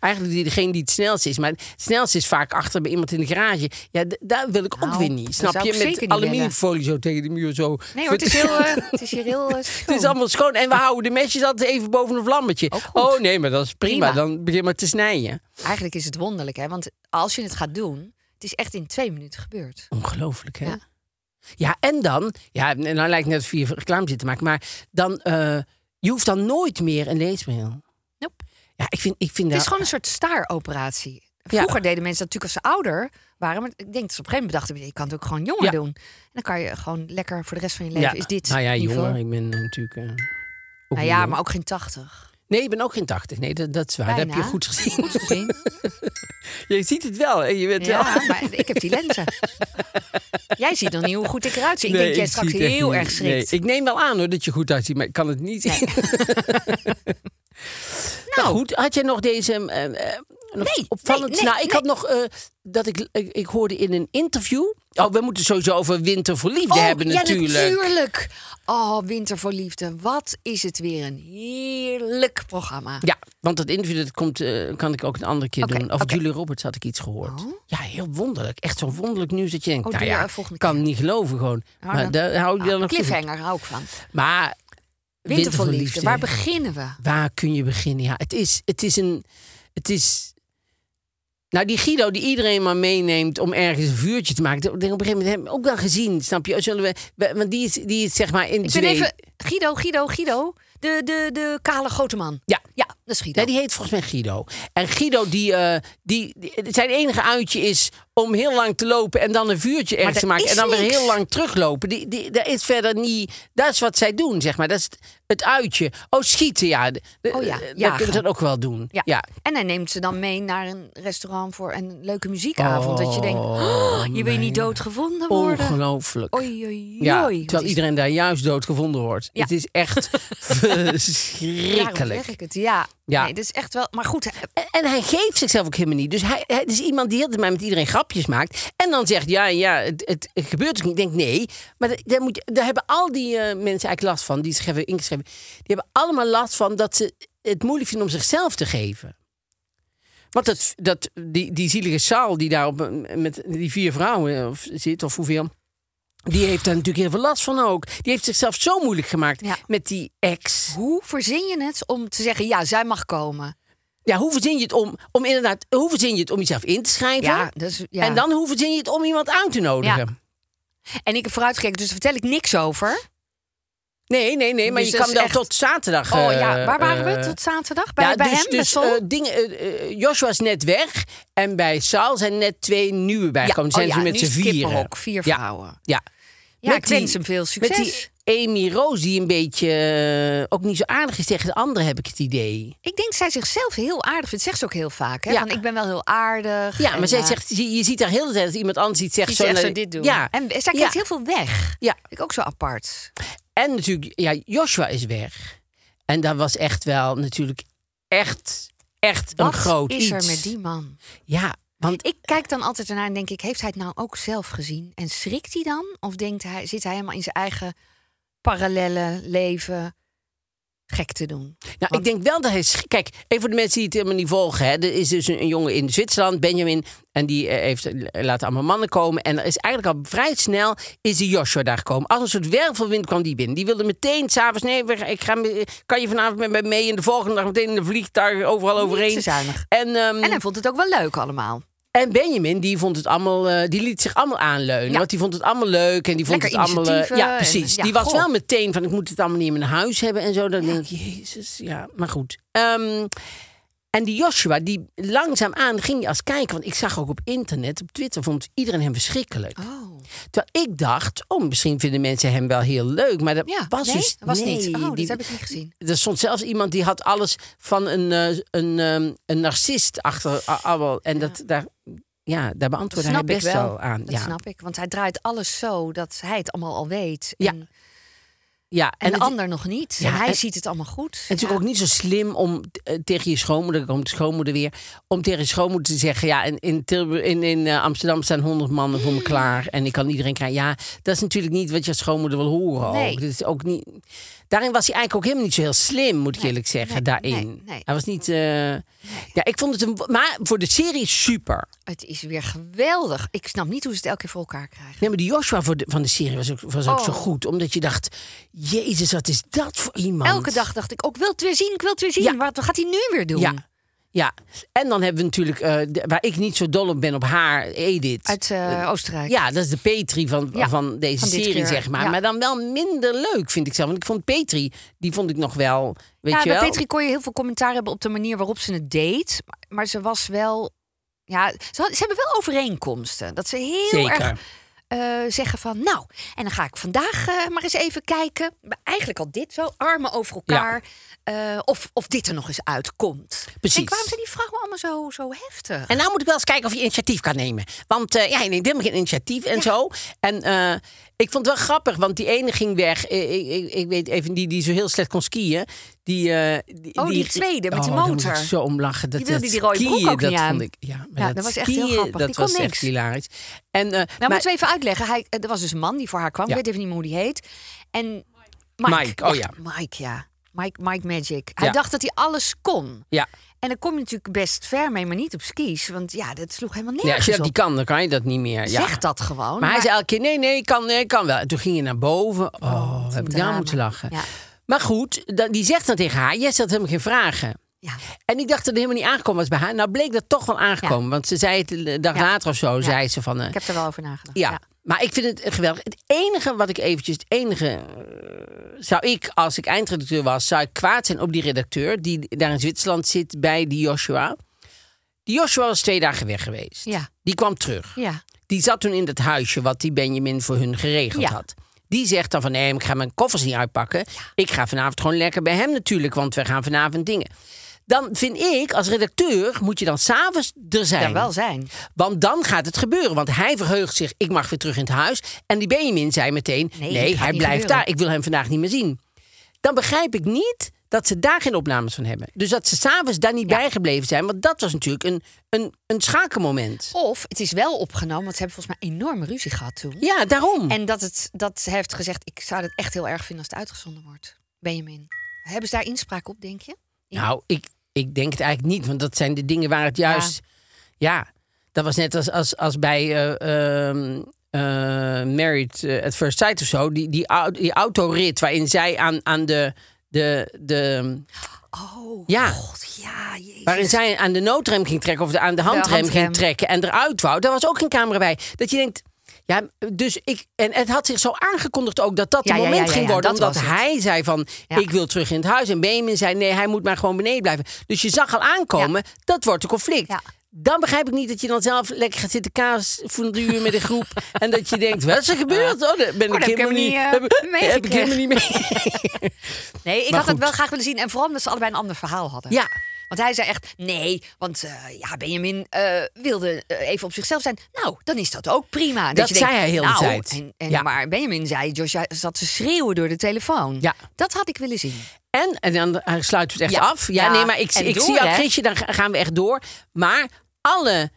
[SPEAKER 2] Eigenlijk die- degene die het snelst is. Maar het snelst is vaak achter bij iemand in de garage. Ja, d- daar wil ik
[SPEAKER 3] Nou,
[SPEAKER 2] ook weer niet.
[SPEAKER 3] dat
[SPEAKER 2] Snap
[SPEAKER 3] zou
[SPEAKER 2] je?
[SPEAKER 3] ik zeker
[SPEAKER 2] Met
[SPEAKER 3] niet
[SPEAKER 2] aluminiumfolie zo tegen de muur. Zo.
[SPEAKER 3] Nee hoor, het is, heel, eh, het is hier heel eh,
[SPEAKER 2] Het is
[SPEAKER 3] schoon.
[SPEAKER 2] allemaal schoon. En we houden de mesjes altijd even boven een vlammetje.
[SPEAKER 3] Ook goed.
[SPEAKER 2] Oh nee, maar dat is prima.
[SPEAKER 3] Prima.
[SPEAKER 2] Dan begin maar te snijden.
[SPEAKER 3] Eigenlijk is het wonderlijk, hè? Want als je het gaat doen, het is echt in twee minuten gebeurd.
[SPEAKER 2] Ongelooflijk, hè?
[SPEAKER 3] Ja.
[SPEAKER 2] Ja. en dan... Ja, en dan lijkt het net of je hier reclame zit te maken. Maar dan... eh, je hoeft dan nooit meer een leesmail.
[SPEAKER 3] Nope.
[SPEAKER 2] Ja, ik vind... Ik vind
[SPEAKER 3] Het
[SPEAKER 2] dat-
[SPEAKER 3] is gewoon een soort staaroperatie.
[SPEAKER 2] Ja.
[SPEAKER 3] Vroeger deden mensen dat natuurlijk als ze ouder waren. Maar ik denk dat ze op een gegeven moment bedachten... je kan het ook gewoon jonger
[SPEAKER 2] Ja.
[SPEAKER 3] doen. En dan kan je gewoon lekker voor de rest van je leven... is dit
[SPEAKER 2] Nou ja,
[SPEAKER 3] niveau.
[SPEAKER 2] jonger. Ik ben eh, natuurlijk. eh, ook
[SPEAKER 3] Nou
[SPEAKER 2] niet
[SPEAKER 3] ja,
[SPEAKER 2] jong.
[SPEAKER 3] maar ook geen tachtig.
[SPEAKER 2] Nee, ik ben ook geen 80. Nee, dat, dat is waar. Dat heb
[SPEAKER 3] Bijna.
[SPEAKER 2] je goed gezien.
[SPEAKER 3] Goed gezien.
[SPEAKER 2] Je ziet het wel. En je bent
[SPEAKER 3] Ja,
[SPEAKER 2] wel.
[SPEAKER 3] maar ik heb die lenzen. Jij ziet nog niet hoe goed ik eruit zie. Ik
[SPEAKER 2] Nee,
[SPEAKER 3] denk jij straks
[SPEAKER 2] zie het echt
[SPEAKER 3] heel
[SPEAKER 2] niet.
[SPEAKER 3] erg schrikt.
[SPEAKER 2] Nee, ik neem wel aan hoor dat je goed uitziet, maar ik kan het niet zien. nou. goed, had jij nog deze. eh, eh, Nog
[SPEAKER 3] Nee,
[SPEAKER 2] opvallend.
[SPEAKER 3] nee, nee,
[SPEAKER 2] nou, ik had nog eh, dat ik, ik, ik hoorde in een interview. Oh, we moeten sowieso over Winter voor Liefde
[SPEAKER 3] Oh,
[SPEAKER 2] hebben, natuurlijk.
[SPEAKER 3] Ja, natuurlijk. Oh, Winter voor Liefde. Wat is het weer een heerlijk programma.
[SPEAKER 2] Ja, want dat interview dat komt, eh, kan ik ook een andere keer
[SPEAKER 3] Oké,
[SPEAKER 2] doen. Over
[SPEAKER 3] oké.
[SPEAKER 2] Julie Roberts had ik iets gehoord. Ja, heel wonderlijk. Echt zo'n wonderlijk nieuws dat je denkt,
[SPEAKER 3] Oh,
[SPEAKER 2] nou
[SPEAKER 3] doe
[SPEAKER 2] ja,
[SPEAKER 3] maar volgende
[SPEAKER 2] kan niet geloven gewoon.
[SPEAKER 3] Nou,
[SPEAKER 2] maar
[SPEAKER 3] dan-
[SPEAKER 2] daar hou ik
[SPEAKER 3] Ah,
[SPEAKER 2] je dan nog
[SPEAKER 3] cliffhanger hou ik van. Winter,
[SPEAKER 2] Maar
[SPEAKER 3] voor Liefde. Waar beginnen we?
[SPEAKER 2] waar kun je beginnen? Ja, het is, het is een. Het is. Nou, die Guido die iedereen maar meeneemt om ergens een vuurtje te maken. Ik denk op een gegeven moment hebben we hem ook wel gezien, snap je? Zullen we, we- want die is, die is zeg maar in
[SPEAKER 3] Ik ben
[SPEAKER 2] twee-
[SPEAKER 3] even... Guido, Guido, Guido. De, de, de kale grote man.
[SPEAKER 2] Ja.
[SPEAKER 3] Ja, dat is Guido.
[SPEAKER 2] Nee, die heet volgens mij Guido. En Guido, die, eh, die, die- zijn enige uitje is om heel lang te lopen en dan een vuurtje ergens
[SPEAKER 3] daar
[SPEAKER 2] te maken.
[SPEAKER 3] is
[SPEAKER 2] En dan weer
[SPEAKER 3] niks.
[SPEAKER 2] heel lang teruglopen. Die, die, dat is verder niet. Dat is wat zij doen, zeg maar. Dat is het- het uitje. Oh, schieten, ja. De- de-
[SPEAKER 3] Oh ja,
[SPEAKER 2] dat
[SPEAKER 3] jagen.
[SPEAKER 2] kunnen ze dat ook wel doen.
[SPEAKER 3] Ja.
[SPEAKER 2] ja.
[SPEAKER 3] En hij neemt ze dan mee naar een restaurant voor een leuke muziekavond. dat je denkt, oh, je wil niet doodgevonden worden.
[SPEAKER 2] Ongelooflijk.
[SPEAKER 3] Oei, oei,
[SPEAKER 2] Ja,
[SPEAKER 3] oei. Wat
[SPEAKER 2] terwijl
[SPEAKER 3] is-
[SPEAKER 2] iedereen daar juist dood gevonden wordt.
[SPEAKER 3] Ja.
[SPEAKER 2] Het is echt
[SPEAKER 3] Daarom
[SPEAKER 2] verschrikkelijk.
[SPEAKER 3] zeg ik het, ja.
[SPEAKER 2] Ja.
[SPEAKER 3] Nee, dat is echt wel... Maar goed, hè,
[SPEAKER 2] En- En hij geeft zichzelf ook helemaal niet. Dus hij, hij het is iemand die heel de tijd met iedereen grapjes maakt. En dan zegt, ja, ja, het, het, het gebeurt ook niet. Ik denk, nee. Maar dat- daar, moet, daar hebben al die eh, mensen eigenlijk last van, die zich hebben ingeschreven. Die hebben allemaal last van dat ze het moeilijk vinden om zichzelf te geven. Want dat, dat, die, die zielige Saal die daar op, een- met die vier vrouwen eh, of, zit, of hoeveel... Die heeft daar natuurlijk heel veel last van ook. Die heeft zichzelf zo moeilijk gemaakt
[SPEAKER 3] Ja.
[SPEAKER 2] met die ex.
[SPEAKER 3] hoe verzin je het om te zeggen, ja, zij mag komen?
[SPEAKER 2] Ja, hoe verzin je het om, om inderdaad, hoe verzin je het om jezelf in te schrijven?
[SPEAKER 3] Ja, dus, ja.
[SPEAKER 2] En dan hoe verzin je het om iemand aan te nodigen?
[SPEAKER 3] En ik heb vooruitgekeken, dus daar vertel ik niks over.
[SPEAKER 2] Nee, nee, nee, maar
[SPEAKER 3] Dus
[SPEAKER 2] je
[SPEAKER 3] dat
[SPEAKER 2] kan
[SPEAKER 3] is
[SPEAKER 2] wel
[SPEAKER 3] echt-
[SPEAKER 2] tot zaterdag.
[SPEAKER 3] oh
[SPEAKER 2] eh,
[SPEAKER 3] ja, waar waren we
[SPEAKER 2] eh,
[SPEAKER 3] tot zaterdag? Bij, bij
[SPEAKER 2] dus,
[SPEAKER 3] hem, bij
[SPEAKER 2] dus,
[SPEAKER 3] Sol?
[SPEAKER 2] eh, dingen, eh, eh, Joshua is net weg en bij Saal zijn net twee nieuwe bijgekomen. zijn
[SPEAKER 3] oh
[SPEAKER 2] ze
[SPEAKER 3] ja,
[SPEAKER 2] met
[SPEAKER 3] nu
[SPEAKER 2] z'n
[SPEAKER 3] is het
[SPEAKER 2] vieren.
[SPEAKER 3] kippenhok, vier
[SPEAKER 2] Ja.
[SPEAKER 3] vrouwen.
[SPEAKER 2] Ja.
[SPEAKER 3] Ja,
[SPEAKER 2] Met
[SPEAKER 3] ik
[SPEAKER 2] die-
[SPEAKER 3] wens hem veel succes.
[SPEAKER 2] Met die Amy Roos die een beetje eh, ook niet zo aardig is tegen de anderen, heb ik het idee.
[SPEAKER 3] Ik denk dat zij zichzelf heel aardig vindt. Zegt ze ook heel vaak, hè?
[SPEAKER 2] Ja.
[SPEAKER 3] Van, ik ben wel heel aardig.
[SPEAKER 2] Ja,
[SPEAKER 3] en,
[SPEAKER 2] maar zij
[SPEAKER 3] eh,
[SPEAKER 2] zegt, je, je ziet daar heel de tijd dat iemand anders iets zegt.
[SPEAKER 3] die zegt
[SPEAKER 2] zo,
[SPEAKER 3] zo dit doen.
[SPEAKER 2] Ja.
[SPEAKER 3] En zij kijkt
[SPEAKER 2] Ja.
[SPEAKER 3] heel veel weg.
[SPEAKER 2] Ja.
[SPEAKER 3] Ik ook zo apart.
[SPEAKER 2] En natuurlijk, ja, Joshua is weg. En dat was echt wel natuurlijk echt, echt
[SPEAKER 3] Wat
[SPEAKER 2] een groot
[SPEAKER 3] is er
[SPEAKER 2] iets.
[SPEAKER 3] met die man?
[SPEAKER 2] Ja, want
[SPEAKER 3] Ik kijk dan altijd ernaar en denk ik, heeft hij het nou ook zelf gezien? En schrikt hij dan? Of denkt hij, zit hij helemaal in zijn eigen parallele leven gek te doen?
[SPEAKER 2] nou, ik denk wel dat hij... sch- Kijk, even voor de mensen die het helemaal niet volgen. Hè, er is dus een, een jongen in Zwitserland, Benjamin. En die eh, heeft, eh, laat allemaal mannen komen. En er is eigenlijk al vrij snel is die Joshua daar gekomen. Als een soort wervelwind kwam die binnen. Die wilde meteen s'avonds... Nee, we- ik ga, me- kan je vanavond met mij mee? En de volgende dag meteen in de vliegtuig overal
[SPEAKER 3] Niet
[SPEAKER 2] overheen.
[SPEAKER 3] te zuinig.
[SPEAKER 2] En, ehm,
[SPEAKER 3] En hij vond het ook wel leuk allemaal.
[SPEAKER 2] En Benjamin, die vond het allemaal, eh, die liet zich allemaal aanleunen.
[SPEAKER 3] Ja.
[SPEAKER 2] Want die vond het allemaal leuk en die vond
[SPEAKER 3] Lekker
[SPEAKER 2] het allemaal. eh,
[SPEAKER 3] initiatieven
[SPEAKER 2] ja, precies.
[SPEAKER 3] en, ja,
[SPEAKER 2] die was
[SPEAKER 3] goh.
[SPEAKER 2] wel meteen van: ik moet het allemaal niet in mijn huis hebben en zo. Dan denk ik, Jezus, ja, maar goed. Ehm, en die Joshua, die langzaamaan ging je als kijken. Want ik zag ook op internet, op Twitter, vond iedereen hem verschrikkelijk.
[SPEAKER 3] Oh.
[SPEAKER 2] Terwijl ik dacht, oh, misschien vinden mensen hem wel heel leuk. Maar dat
[SPEAKER 3] Ja,
[SPEAKER 2] was
[SPEAKER 3] nee,
[SPEAKER 2] dus
[SPEAKER 3] dat was
[SPEAKER 2] nee,
[SPEAKER 3] niet. Oh, dat
[SPEAKER 2] die-
[SPEAKER 3] heb ik niet gezien.
[SPEAKER 2] Er stond zelfs iemand die had alles van een, eh, een, ehm, een narcist achter a- allemaal. En dat, daar, ja, daar
[SPEAKER 3] Dat
[SPEAKER 2] beantwoordde
[SPEAKER 3] snap
[SPEAKER 2] hij
[SPEAKER 3] ik
[SPEAKER 2] best
[SPEAKER 3] wel.
[SPEAKER 2] aan.
[SPEAKER 3] Dat
[SPEAKER 2] Ja,
[SPEAKER 3] snap ik. Want hij draait alles zo dat hij het allemaal al weet.
[SPEAKER 2] Ja,
[SPEAKER 3] en, en
[SPEAKER 2] ja,
[SPEAKER 3] de
[SPEAKER 2] het-
[SPEAKER 3] ander nog niet.
[SPEAKER 2] Ja,
[SPEAKER 3] en hij
[SPEAKER 2] en-
[SPEAKER 3] ziet het allemaal goed.
[SPEAKER 2] En natuurlijk ook niet zo slim om eh, tegen je schoonmoeder, komt de schoonmoeder weer, om tegen je schoonmoeder te zeggen, ja, in, in, Tilburg, in, in eh, Amsterdam staan honderd mannen voor me klaar en ik kan iedereen krijgen. Ja, dat is natuurlijk niet wat je schoonmoeder wil horen.
[SPEAKER 3] Nee.
[SPEAKER 2] Ook. Dat is ook niet... Daarin was hij eigenlijk ook helemaal niet zo heel slim, moet ik
[SPEAKER 3] Nee,
[SPEAKER 2] eerlijk zeggen,
[SPEAKER 3] nee,
[SPEAKER 2] daarin.
[SPEAKER 3] nee, nee.
[SPEAKER 2] Hij was niet... eh, Ja, ik vond het een... Maar voor de serie super.
[SPEAKER 3] Het is weer geweldig. Ik snap niet hoe ze het elke keer voor elkaar krijgen.
[SPEAKER 2] Nee, maar die Joshua voor de- van de serie was ook, was ook
[SPEAKER 3] Oh.
[SPEAKER 2] zo goed, omdat je dacht, jezus, wat is dat voor iemand?
[SPEAKER 3] Elke dag dacht ik ook, ik wil het weer zien, ik wil het weer zien.
[SPEAKER 2] Ja.
[SPEAKER 3] Wat wat gaat hij nu weer doen?
[SPEAKER 2] Ja. Ja, en dan hebben we natuurlijk, eh, de- waar ik niet zo dol op ben, op haar, Edith.
[SPEAKER 3] Uit eh, Oostenrijk.
[SPEAKER 2] Ja, dat is de Petri van,
[SPEAKER 3] Ja,
[SPEAKER 2] van deze
[SPEAKER 3] van dit
[SPEAKER 2] serie,
[SPEAKER 3] keer,
[SPEAKER 2] zeg maar.
[SPEAKER 3] ja.
[SPEAKER 2] Maar dan wel minder leuk, vind ik zelf. Want ik vond Petri, die vond ik nog wel, weet
[SPEAKER 3] ja,
[SPEAKER 2] je
[SPEAKER 3] bij
[SPEAKER 2] wel.
[SPEAKER 3] Petri kon je heel veel commentaar hebben op de manier waarop ze het deed. Maar, maar ze was wel. Ja, ze, had- ze hebben wel overeenkomsten. Dat ze heel
[SPEAKER 2] Zeker.
[SPEAKER 3] erg eh, zeggen van. Nou, en dan ga ik vandaag eh, maar eens even kijken. Maar eigenlijk al dit zo, armen over elkaar. eh, of, of dit er nog eens uitkomt.
[SPEAKER 2] Precies.
[SPEAKER 3] En waarom zijn die vrouwen allemaal zo, zo heftig?
[SPEAKER 2] En nou moet ik wel eens kijken of je initiatief kan nemen. Want eh ja, je neemt helemaal geen initiatief en zo. En eh, Ik vond het wel grappig, want die ene ging weg. Eh, Ik, ik, ik weet even, die, die zo heel slecht kon skiën. Die, eh,
[SPEAKER 3] Oh, die tweede met
[SPEAKER 2] oh,
[SPEAKER 3] die
[SPEAKER 2] daar
[SPEAKER 3] motor.
[SPEAKER 2] moest ik zo om lachen. Dat,
[SPEAKER 3] Die wilde
[SPEAKER 2] dat
[SPEAKER 3] die rode broek
[SPEAKER 2] skiën,
[SPEAKER 3] ook niet
[SPEAKER 2] dat
[SPEAKER 3] aan.
[SPEAKER 2] Vond ik, ja, maar
[SPEAKER 3] Ja,
[SPEAKER 2] dat,
[SPEAKER 3] dat was echt
[SPEAKER 2] skiën,
[SPEAKER 3] heel grappig.
[SPEAKER 2] Dat
[SPEAKER 3] Die kon
[SPEAKER 2] was echt
[SPEAKER 3] niks.
[SPEAKER 2] hilarisch. En, eh,
[SPEAKER 3] Nou,
[SPEAKER 2] maar-
[SPEAKER 3] moeten we even uitleggen. Hij, eh, er was dus een man die voor haar kwam.
[SPEAKER 2] Ja.
[SPEAKER 3] Ik weet even niet meer hoe die heet. En Mike.
[SPEAKER 2] Mike, oh ja.
[SPEAKER 3] Mike, ja. Mike, Mike Magic. Hij
[SPEAKER 2] Ja.
[SPEAKER 3] dacht dat hij alles kon.
[SPEAKER 2] ja.
[SPEAKER 3] En dan kom je natuurlijk best ver mee, maar niet op skis. Want ja, dat sloeg helemaal
[SPEAKER 2] ja, als
[SPEAKER 3] nergens
[SPEAKER 2] je dat
[SPEAKER 3] op.
[SPEAKER 2] niet kan, dan kan je dat niet meer. Ja.
[SPEAKER 3] Zeg dat gewoon.
[SPEAKER 2] Maar hij zei elke keer, nee, nee, ik kan, nee, ik kan wel. En toen ging je naar boven. Oh, heb ik daar
[SPEAKER 3] drama.
[SPEAKER 2] moeten lachen.
[SPEAKER 3] Ja.
[SPEAKER 2] Maar goed, dan, die zegt dan tegen haar, jij stelt hem geen vragen.
[SPEAKER 3] Ja.
[SPEAKER 2] En ik dacht dat het helemaal niet aangekomen was bij haar. Nou bleek dat toch wel aangekomen. Want ze zei het een dag
[SPEAKER 3] Ja.
[SPEAKER 2] later of zo,
[SPEAKER 3] Ja.
[SPEAKER 2] zei ze van... eh,
[SPEAKER 3] Ik heb er wel over nagedacht.
[SPEAKER 2] ja. maar ik vind het eh, geweldig. Het enige wat ik eventjes... Het enige eh, zou ik, als ik eindredacteur was... zou ik kwaad zijn op die redacteur... die daar in Zwitserland zit bij die Joshua. Die Joshua was twee dagen weg geweest.
[SPEAKER 3] Ja.
[SPEAKER 2] Die kwam terug.
[SPEAKER 3] Ja.
[SPEAKER 2] Die zat toen in dat huisje wat die Benjamin voor hun geregeld
[SPEAKER 3] Ja.
[SPEAKER 2] had. Die zegt dan van, nee, ik ga mijn koffers niet uitpakken. Ik ga vanavond gewoon lekker bij hem natuurlijk, want we gaan vanavond dingen. Dan vind ik, als redacteur, moet je dan s'avonds er zijn.
[SPEAKER 3] Ja, wel zijn.
[SPEAKER 2] Want dan gaat het gebeuren. Want hij verheugt zich, ik mag weer terug in het huis. En die Benjamin zei meteen,
[SPEAKER 3] Nee,
[SPEAKER 2] nee,
[SPEAKER 3] dat gaat
[SPEAKER 2] hij
[SPEAKER 3] niet
[SPEAKER 2] blijft
[SPEAKER 3] gebeuren.
[SPEAKER 2] daar. Ik wil hem vandaag niet meer zien. Dan begrijp ik niet dat ze daar geen opnames van hebben. Dus dat ze s'avonds daar niet bijgebleven zijn. Want dat was natuurlijk een, een, een schakelmoment.
[SPEAKER 3] Of het is wel opgenomen, want ze hebben volgens mij enorme ruzie gehad toen.
[SPEAKER 2] Ja, daarom.
[SPEAKER 3] En dat, het, dat ze heeft gezegd, ik zou het echt heel erg vinden als het uitgezonden wordt. Benjamin. Hebben ze daar inspraak op, denk je? Ja.
[SPEAKER 2] Nou, ik, ik denk het eigenlijk niet. Want dat zijn de dingen waar het juist... Ja, dat was net als, als, als bij eh, ehm, eh, Married eh, at First Sight of zo. Die, die, au- die autorit waarin zij aan, aan de... De, de,
[SPEAKER 3] Oh,
[SPEAKER 2] Ja.
[SPEAKER 3] god, ja, jezus.
[SPEAKER 2] waarin zij aan de noodrem ging trekken of de, aan de handrem,
[SPEAKER 3] handrem.
[SPEAKER 2] ging trekken en eruit wou. Daar was ook geen camera bij. Dat je denkt, ja, dus ik. En het had zich zo aangekondigd ook dat dat
[SPEAKER 3] Ja,
[SPEAKER 2] het
[SPEAKER 3] ja,
[SPEAKER 2] moment
[SPEAKER 3] ja, ja,
[SPEAKER 2] ging
[SPEAKER 3] ja,
[SPEAKER 2] worden.
[SPEAKER 3] dat
[SPEAKER 2] omdat
[SPEAKER 3] was het.
[SPEAKER 2] hij zei van,
[SPEAKER 3] Ja.
[SPEAKER 2] ik wil terug in het huis. En Benjamin zei, nee, hij moet maar gewoon beneden blijven. Dus je zag al aankomen, dat wordt een conflict.
[SPEAKER 3] Ja.
[SPEAKER 2] Dan begrijp ik niet dat je dan zelf lekker gaat zitten kaas fonduren met een groep. en dat je denkt, wat is er gebeurd? Oh, daar ben
[SPEAKER 3] Oh,
[SPEAKER 2] ik
[SPEAKER 3] dat heb ik
[SPEAKER 2] helemaal niet,
[SPEAKER 3] helemaal niet,
[SPEAKER 2] heb,
[SPEAKER 3] eh,
[SPEAKER 2] heb ik
[SPEAKER 3] meegekregen.
[SPEAKER 2] helemaal niet mee.
[SPEAKER 3] Nee, ik
[SPEAKER 2] Maar
[SPEAKER 3] had het
[SPEAKER 2] goed.
[SPEAKER 3] wel graag willen zien. En vooral omdat ze allebei een ander verhaal hadden.
[SPEAKER 2] Ja.
[SPEAKER 3] Want hij zei echt, nee, want eh, ja, Benjamin eh, wilde eh, even op zichzelf zijn. Nou, dan is dat ook prima.
[SPEAKER 2] Dat
[SPEAKER 3] je
[SPEAKER 2] zei hij heel de
[SPEAKER 3] nou,
[SPEAKER 2] tijd.
[SPEAKER 3] En, en,
[SPEAKER 2] Ja.
[SPEAKER 3] Maar Benjamin zei, Joshua zat te schreeuwen door de telefoon.
[SPEAKER 2] Ja.
[SPEAKER 3] Dat had ik willen zien.
[SPEAKER 2] En, en dan eh, sluiten we het echt
[SPEAKER 3] Ja.
[SPEAKER 2] af. Ja,
[SPEAKER 3] Ja,
[SPEAKER 2] nee, maar ik,
[SPEAKER 3] en
[SPEAKER 2] ik
[SPEAKER 3] door,
[SPEAKER 2] zie al
[SPEAKER 3] hè?
[SPEAKER 2] Chrisje, dan ga- gaan we echt door. Maar alle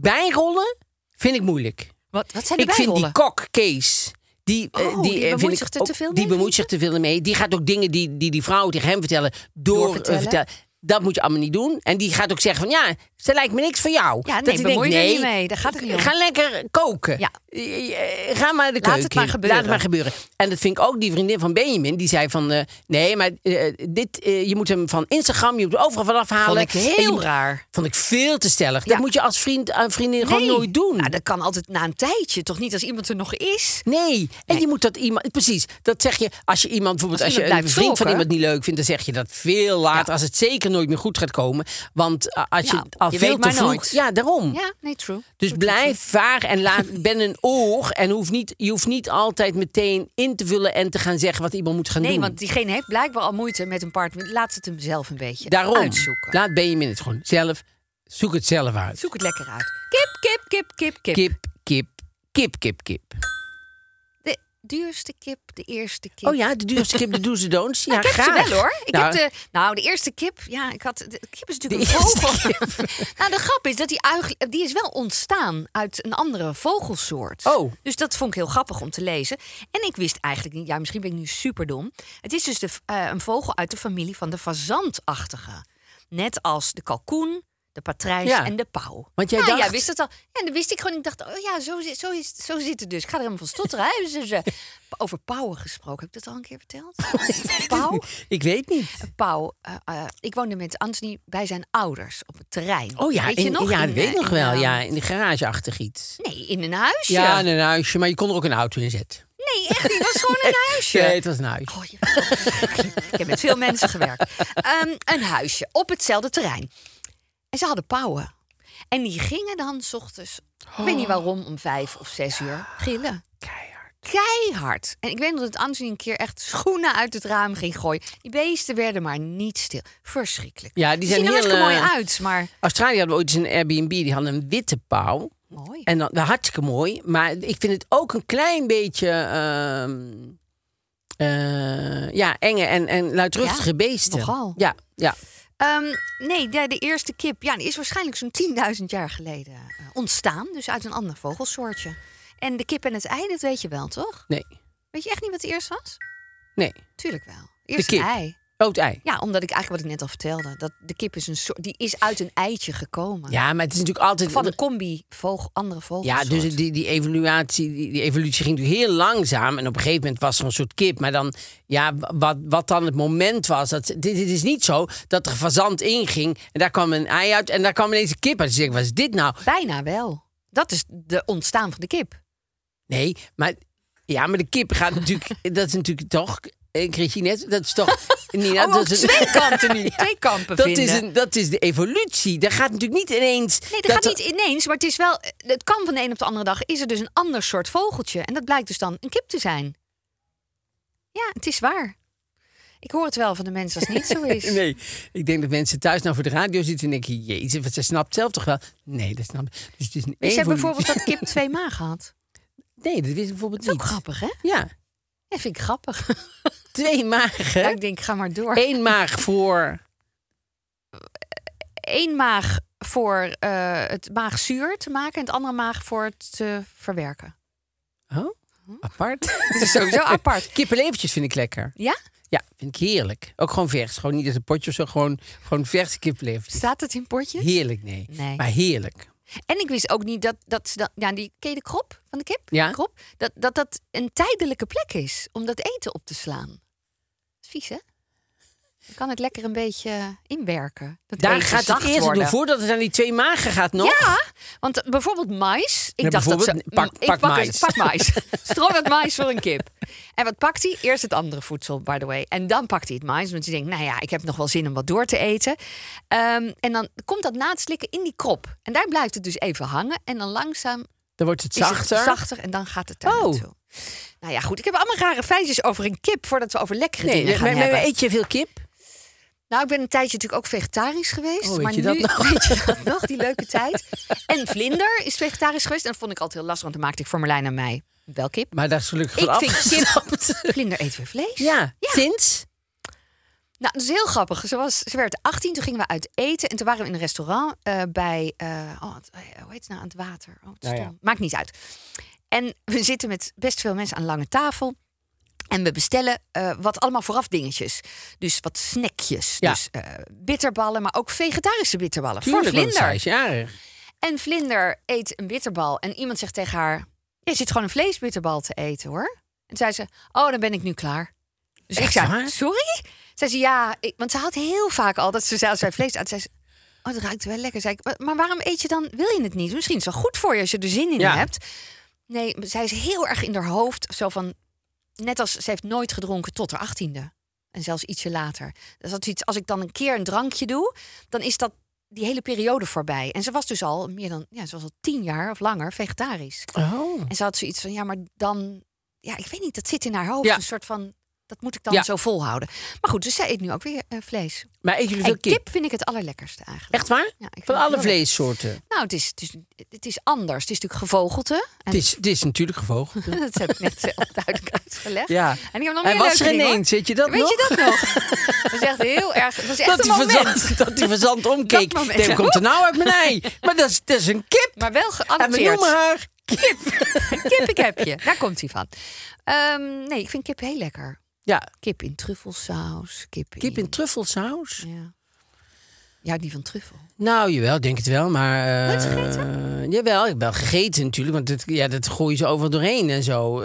[SPEAKER 2] bijrollen vind ik moeilijk.
[SPEAKER 3] Wat, wat zijn die
[SPEAKER 2] Ik vind die
[SPEAKER 3] bijrollen?
[SPEAKER 2] kok, Kees... Die, eh,
[SPEAKER 3] Oh, die
[SPEAKER 2] eh,
[SPEAKER 3] bemoeit
[SPEAKER 2] vind ik
[SPEAKER 3] zich er
[SPEAKER 2] ook-
[SPEAKER 3] te veel
[SPEAKER 2] Die
[SPEAKER 3] mee,
[SPEAKER 2] bemoeit
[SPEAKER 3] vind
[SPEAKER 2] zich te veel mee. Die gaat ook dingen die die, die vrouwen tegen hem vertellen... door, eh,
[SPEAKER 3] Doorvertellen.
[SPEAKER 2] vertellen. Dat moet je allemaal niet doen. En die gaat ook zeggen van... ja, ze lijkt me niks voor jou.
[SPEAKER 3] Ja, nee,
[SPEAKER 2] dat hij
[SPEAKER 3] bemoei
[SPEAKER 2] denkt, nee,
[SPEAKER 3] je er niet mee. Daar gaat het niet om.
[SPEAKER 2] Ga lekker koken.
[SPEAKER 3] Ja.
[SPEAKER 2] Eh, eh, Ga maar de
[SPEAKER 3] Laat
[SPEAKER 2] keuken
[SPEAKER 3] het maar
[SPEAKER 2] in.
[SPEAKER 3] gebeuren.
[SPEAKER 2] Laat het maar gebeuren. En dat vind ik ook die vriendin van Benjamin. Die zei van... eh, nee, maar eh, dit, eh, je moet hem van Instagram... je moet hem overal vanaf halen.
[SPEAKER 3] Vond ik
[SPEAKER 2] En je
[SPEAKER 3] heel
[SPEAKER 2] moet-
[SPEAKER 3] raar.
[SPEAKER 2] Vond ik veel te stellig.
[SPEAKER 3] Ja.
[SPEAKER 2] Dat moet je als vriend en vriendin gewoon
[SPEAKER 3] Nee.
[SPEAKER 2] nooit doen.
[SPEAKER 3] Nou, dat kan altijd na een tijdje. Toch niet als iemand er nog is?
[SPEAKER 2] Nee, en je moet dat iemand. Precies, dat zeg je als je iemand bijvoorbeeld.
[SPEAKER 3] Als
[SPEAKER 2] Als,
[SPEAKER 3] iemand
[SPEAKER 2] je een
[SPEAKER 3] blijft
[SPEAKER 2] vriend van
[SPEAKER 3] stalken.
[SPEAKER 2] iemand niet leuk vindt, dan zeg je dat veel later. Als het zeker nooit meer goed gaat komen. Want eh, als
[SPEAKER 3] Ja,
[SPEAKER 2] je al
[SPEAKER 3] je
[SPEAKER 2] veel
[SPEAKER 3] weet
[SPEAKER 2] te
[SPEAKER 3] maar
[SPEAKER 2] vroeg.
[SPEAKER 3] nooit.
[SPEAKER 2] Ja, daarom.
[SPEAKER 3] Ja, nee, true.
[SPEAKER 2] Dus blijf vaag en laat, ben een oog. En hoef niet, je hoeft niet altijd meteen in te vullen en te gaan zeggen wat iemand moet gaan
[SPEAKER 3] Nee,
[SPEAKER 2] doen.
[SPEAKER 3] want diegene heeft blijkbaar al moeite met een partner. Laat het hem zelf een beetje
[SPEAKER 2] Daarom,
[SPEAKER 3] uitzoeken.
[SPEAKER 2] laat Benjamin het gewoon zelf. Zoek het zelf uit.
[SPEAKER 3] Zoek het lekker uit. Kip, kip, kip, kip, kip.
[SPEAKER 2] Kip, kip, kip, kip, kip.
[SPEAKER 3] De duurste kip, de eerste kip.
[SPEAKER 2] Oh ja, de duurste kip, de do's en don'ts. Ja,
[SPEAKER 3] ik heb
[SPEAKER 2] graag.
[SPEAKER 3] ze wel hoor. Ik
[SPEAKER 2] Nou,
[SPEAKER 3] heb de, nou, de eerste kip. Ja, ik had. De kip is natuurlijk
[SPEAKER 2] De
[SPEAKER 3] een
[SPEAKER 2] eerste
[SPEAKER 3] vogel. nou, de grap is dat die uig, die is wel ontstaan uit een andere vogelsoort.
[SPEAKER 2] Oh.
[SPEAKER 3] Dus dat vond ik heel grappig om te lezen. En ik wist eigenlijk niet. Ja, misschien ben ik nu superdom. Het is dus de, v- eh, een vogel uit de familie van de fazantachtige. Net als de kalkoen, de patrijs
[SPEAKER 2] Ja.
[SPEAKER 3] en de pauw.
[SPEAKER 2] Want jij
[SPEAKER 3] nou,
[SPEAKER 2] dacht-
[SPEAKER 3] ja, wist het al. Ja, dat wist ik gewoon. Ik dacht, oh ja, zo, zit- zo, is, zo zit het dus. Ik ga er helemaal van stotteren. hè. Dus, eh, Over pauwen gesproken. Heb ik dat al een keer verteld?
[SPEAKER 2] Oh,
[SPEAKER 3] pauw?
[SPEAKER 2] Ik weet niet.
[SPEAKER 3] Pauw, eh, eh, ik woonde met Anthony bij zijn ouders op het terrein.
[SPEAKER 2] Oh ja,
[SPEAKER 3] weet je
[SPEAKER 2] in-
[SPEAKER 3] nog?
[SPEAKER 2] ja dat
[SPEAKER 3] In,
[SPEAKER 2] weet
[SPEAKER 3] eh,
[SPEAKER 2] ik nog
[SPEAKER 3] in,
[SPEAKER 2] wel.
[SPEAKER 3] eh,
[SPEAKER 2] ja, in de garageachtig iets.
[SPEAKER 3] Nee, in een huisje.
[SPEAKER 2] Ja, in
[SPEAKER 3] nee.
[SPEAKER 2] een huisje, maar je kon er ook een auto in zetten.
[SPEAKER 3] echt niet. Het was gewoon een huisje.
[SPEAKER 2] Nee, het was een huisje.
[SPEAKER 3] Oh, je bent zo verschrikkelijk. ik heb met veel mensen gewerkt. Ehm, een huisje op hetzelfde terrein. En ze hadden pauwen. En die gingen dan 's ochtends, ik
[SPEAKER 2] Oh.
[SPEAKER 3] weet niet waarom, om vijf of zes uur gillen.
[SPEAKER 2] Keihard.
[SPEAKER 3] Keihard. En ik weet nog dat Anthony een keer echt schoenen uit het raam ging gooien. Die beesten werden maar niet stil. Verschrikkelijk.
[SPEAKER 2] Ja, die zijn
[SPEAKER 3] zien er
[SPEAKER 2] heel,
[SPEAKER 3] hartstikke mooi
[SPEAKER 2] eh,
[SPEAKER 3] uit, maar...
[SPEAKER 2] Australië hadden we ooit eens een Airbnb, die hadden een witte pauw.
[SPEAKER 3] Mooi.
[SPEAKER 2] En dan, nou, hartstikke mooi. Maar ik vind het ook een klein beetje... ehm, eh, ja, enge en, en luidruchtige
[SPEAKER 3] Ja,
[SPEAKER 2] beesten.
[SPEAKER 3] nogal.
[SPEAKER 2] Ja, ja.
[SPEAKER 3] Ehm, nee, de, de eerste kip ja, die is waarschijnlijk zo'n 10.000 jaar geleden eh, ontstaan. Dus uit een ander vogelsoortje. En de kip en het ei, dat weet je wel, toch?
[SPEAKER 2] Nee,
[SPEAKER 3] Weet je echt niet wat het eerst was?
[SPEAKER 2] nee.
[SPEAKER 3] Tuurlijk wel. Eerst
[SPEAKER 2] kip.
[SPEAKER 3] het ei.
[SPEAKER 2] Oh, het ei.
[SPEAKER 3] Ja, omdat ik eigenlijk wat ik net al vertelde. Dat de kip is een soort, die is uit een eitje gekomen.
[SPEAKER 2] Ja, maar het is natuurlijk altijd...
[SPEAKER 3] Van een combi vogel, andere vogels.
[SPEAKER 2] Ja, dus die, die, evaluatie, die, die evolutie ging natuurlijk heel langzaam. En op een gegeven moment was er een soort kip. Maar dan, ja, wa- wat, wat dan het moment was. Dat, dit, dit is niet zo dat er fazant inging. En daar kwam een ei uit. En daar kwam ineens een kip uit. Dus ik denk, wat is dit nou?
[SPEAKER 3] Bijna wel. Dat is de ontstaan van de kip.
[SPEAKER 2] Nee, maar, ja, maar de kip gaat natuurlijk... dat is natuurlijk toch... eh, Christine, net, dat is toch... Nina,
[SPEAKER 3] Oh,
[SPEAKER 2] dat
[SPEAKER 3] ook
[SPEAKER 2] is een-
[SPEAKER 3] twee kanten nu. Twee kampen
[SPEAKER 2] dat
[SPEAKER 3] vinden.
[SPEAKER 2] is, een, dat is de evolutie. Daar gaat natuurlijk niet ineens...
[SPEAKER 3] Nee, dat, gaat niet ineens, maar het is wel. Het kan van de een op de andere dag. Is er dus een ander soort vogeltje. En dat blijkt dus dan een kip te zijn. Ja, het is waar. Ik hoor het wel van de mensen als het niet zo is.
[SPEAKER 2] Nee, ik denk dat mensen thuis nou voor de radio zitten en denken... Jezus, wat ze snapt zelf toch wel? Nee, dat snapt Dus het is een
[SPEAKER 3] Dus je hebt
[SPEAKER 2] evolutie.
[SPEAKER 3] bijvoorbeeld dat kip twee magen had.
[SPEAKER 2] Nee, dat wist ik bijvoorbeeld
[SPEAKER 3] Dat is
[SPEAKER 2] niet.
[SPEAKER 3] ook grappig, hè?
[SPEAKER 2] Ja,
[SPEAKER 3] Dat vind ik grappig.
[SPEAKER 2] twee magen.
[SPEAKER 3] Ja, ik denk, ga maar door.
[SPEAKER 2] Eén maag voor...
[SPEAKER 3] Eén maag voor eh, het maagzuur te maken en het andere maag voor het te verwerken.
[SPEAKER 2] Oh, apart.
[SPEAKER 3] Het is sowieso apart.
[SPEAKER 2] Kippenlevertjes vind ik lekker.
[SPEAKER 3] Ja?
[SPEAKER 2] Ja, vind ik heerlijk. Ook gewoon vers. Gewoon niet uit een potje of zo. Gewoon, gewoon verse kippenlevertjes.
[SPEAKER 3] Staat het in potjes?
[SPEAKER 2] Heerlijk, nee.
[SPEAKER 3] Nee.
[SPEAKER 2] Maar heerlijk.
[SPEAKER 3] En ik wist ook niet dat, dat ze dan, ja, die, ken je de krop van de kip?
[SPEAKER 2] Ja.
[SPEAKER 3] Krop, dat, dat dat een tijdelijke plek is om dat eten op te slaan. Dat is vies, hè? Dan kan het lekker een beetje inwerken. Dat
[SPEAKER 2] Daar
[SPEAKER 3] eten
[SPEAKER 2] gaat het
[SPEAKER 3] zacht
[SPEAKER 2] eerst
[SPEAKER 3] worden.
[SPEAKER 2] door voordat het aan die twee magen gaat nog.
[SPEAKER 3] Ja, want eh, bijvoorbeeld mais. Ik
[SPEAKER 2] Ja,
[SPEAKER 3] dacht dat ze...
[SPEAKER 2] bijvoorbeeld, pak-
[SPEAKER 3] Mm, ik
[SPEAKER 2] pak
[SPEAKER 3] eens-
[SPEAKER 2] mais.
[SPEAKER 3] pak mais. Strooi met mais voor een kip. En wat pakt hij? Eerst het andere voedsel, by the way. En dan pakt hij het mais. Want hij denkt, nou ja, ik heb nog wel zin om wat door te eten. Ehm, en dan komt dat na het slikken in die krop. En daar blijft het dus even hangen. En dan langzaam
[SPEAKER 2] Dan wordt het
[SPEAKER 3] is het
[SPEAKER 2] zachter.
[SPEAKER 3] zachter en dan gaat het daar
[SPEAKER 2] Oh.
[SPEAKER 3] naartoe. Nou ja, goed. Ik heb allemaal rare feitjes over een kip voordat we over lekkere
[SPEAKER 2] Nee,
[SPEAKER 3] dingen
[SPEAKER 2] maar,
[SPEAKER 3] gaan
[SPEAKER 2] maar- maar
[SPEAKER 3] hebben.
[SPEAKER 2] eet je veel kip?
[SPEAKER 3] Nou, ik ben een tijdje natuurlijk ook vegetarisch geweest.
[SPEAKER 2] Oh, weet
[SPEAKER 3] maar
[SPEAKER 2] je
[SPEAKER 3] nu
[SPEAKER 2] dat nog?
[SPEAKER 3] weet je dat nog, die leuke tijd. En vlinder is vegetarisch geweest. En dat vond ik altijd heel lastig, want dan maakte ik voor Marlijn en mij wel kip.
[SPEAKER 2] Maar daar is gelukkig
[SPEAKER 3] Ik
[SPEAKER 2] van
[SPEAKER 3] vind kip-
[SPEAKER 2] afgesnapt.
[SPEAKER 3] Vlinder eet weer vlees.
[SPEAKER 2] Ja, sinds?
[SPEAKER 3] Nou, dat is heel grappig. Ze, was, ze werd 18, toen gingen we uit eten. En toen waren we in een restaurant eh, bij... eh, oh, het- eh, hoe heet het nou? Aan het water. Oh, het is
[SPEAKER 2] Nou ja.
[SPEAKER 3] stom. Maakt niet uit. En we zitten met best veel mensen aan een lange tafel. En we bestellen eh, wat allemaal vooraf dingetjes. Dus wat snackjes.
[SPEAKER 2] Ja.
[SPEAKER 3] Dus eh, bitterballen, maar ook vegetarische bitterballen.
[SPEAKER 2] Tuurlijk,
[SPEAKER 3] voor
[SPEAKER 2] want zij
[SPEAKER 3] vlinder.
[SPEAKER 2] is jarig.
[SPEAKER 3] En Vlinder eet een bitterbal. En iemand zegt tegen haar: Je zit gewoon een vleesbitterbal te eten hoor. En zei ze: Oh, dan ben ik nu klaar. Dus ik
[SPEAKER 2] Echt
[SPEAKER 3] zei:
[SPEAKER 2] waar?
[SPEAKER 3] Sorry? Zei ze: Ja, ik, want ze haalt heel vaak al dat ze zei, als zij vlees uit. Zei ze: Oh, dat ruikt wel lekker. Zei ik: "Maar- Maar waarom eet je dan? Wil je het niet? Misschien is het wel goed voor je als je er zin in
[SPEAKER 2] Ja.
[SPEAKER 3] hebt. Nee, zij is heel erg in haar hoofd. Zo van: Net als ze heeft nooit gedronken tot haar achttiende. En zelfs ietsje later. Dus dat is iets, als ik dan een keer een drankje doe, dan is dat die hele periode voorbij. En ze was dus al meer dan, ja, ze was al tien jaar of langer vegetarisch.
[SPEAKER 2] Oh.
[SPEAKER 3] En ze had zoiets van, ja, maar dan, ja, ik weet niet, dat zit in haar hoofd.
[SPEAKER 2] Ja.
[SPEAKER 3] Een soort van, dat moet ik dan
[SPEAKER 2] Ja.
[SPEAKER 3] zo volhouden. Maar goed, dus zij eet nu ook weer eh, vlees.
[SPEAKER 2] Maar eet jullie
[SPEAKER 3] En
[SPEAKER 2] veel
[SPEAKER 3] kip?
[SPEAKER 2] kip?
[SPEAKER 3] vind ik het allerlekkerste eigenlijk.
[SPEAKER 2] Echt waar?
[SPEAKER 3] Ja, ik vind
[SPEAKER 2] Van
[SPEAKER 3] het
[SPEAKER 2] alle
[SPEAKER 3] wel
[SPEAKER 2] vleessoorten.
[SPEAKER 3] Nou, het is, het is, het is anders. Het is natuurlijk gevogelte. En
[SPEAKER 2] Het is, het is natuurlijk gevogeld.
[SPEAKER 3] dat heb ik net zelf duidelijk uitgelegd.
[SPEAKER 2] Ja.
[SPEAKER 3] En ik heb nog
[SPEAKER 2] Hij
[SPEAKER 3] meer
[SPEAKER 2] was
[SPEAKER 3] leuke
[SPEAKER 2] er
[SPEAKER 3] dingen, hoor.
[SPEAKER 2] ineens, weet je dat
[SPEAKER 3] Weet
[SPEAKER 2] nog?
[SPEAKER 3] je dat nog? Dat is echt heel erg. Dat is echt
[SPEAKER 2] dat,
[SPEAKER 3] een
[SPEAKER 2] hij
[SPEAKER 3] moment.
[SPEAKER 2] verzand, dat hij verzand omkeek.
[SPEAKER 3] Dat moment.
[SPEAKER 2] Ik denk, komt er nou uit mijn ei? Maar dat is, dat is een kip.
[SPEAKER 3] Maar wel
[SPEAKER 2] en we
[SPEAKER 3] geadopteerd.
[SPEAKER 2] noemen haar kip.
[SPEAKER 3] Kip, ik heb je. Daar komt hij van. Ehm, nee, ik vind kip heel lekker.
[SPEAKER 2] Ja,
[SPEAKER 3] Kip in truffelsaus. Kip,
[SPEAKER 2] kip in truffelsaus.
[SPEAKER 3] Ja. Ja, die van truffel.
[SPEAKER 2] Nou, jawel, denk het wel. Maar,
[SPEAKER 3] Nooit
[SPEAKER 2] eh, jawel, ik heb wel gegeten natuurlijk. Want het, ja, dat gooien ze overal doorheen en zo.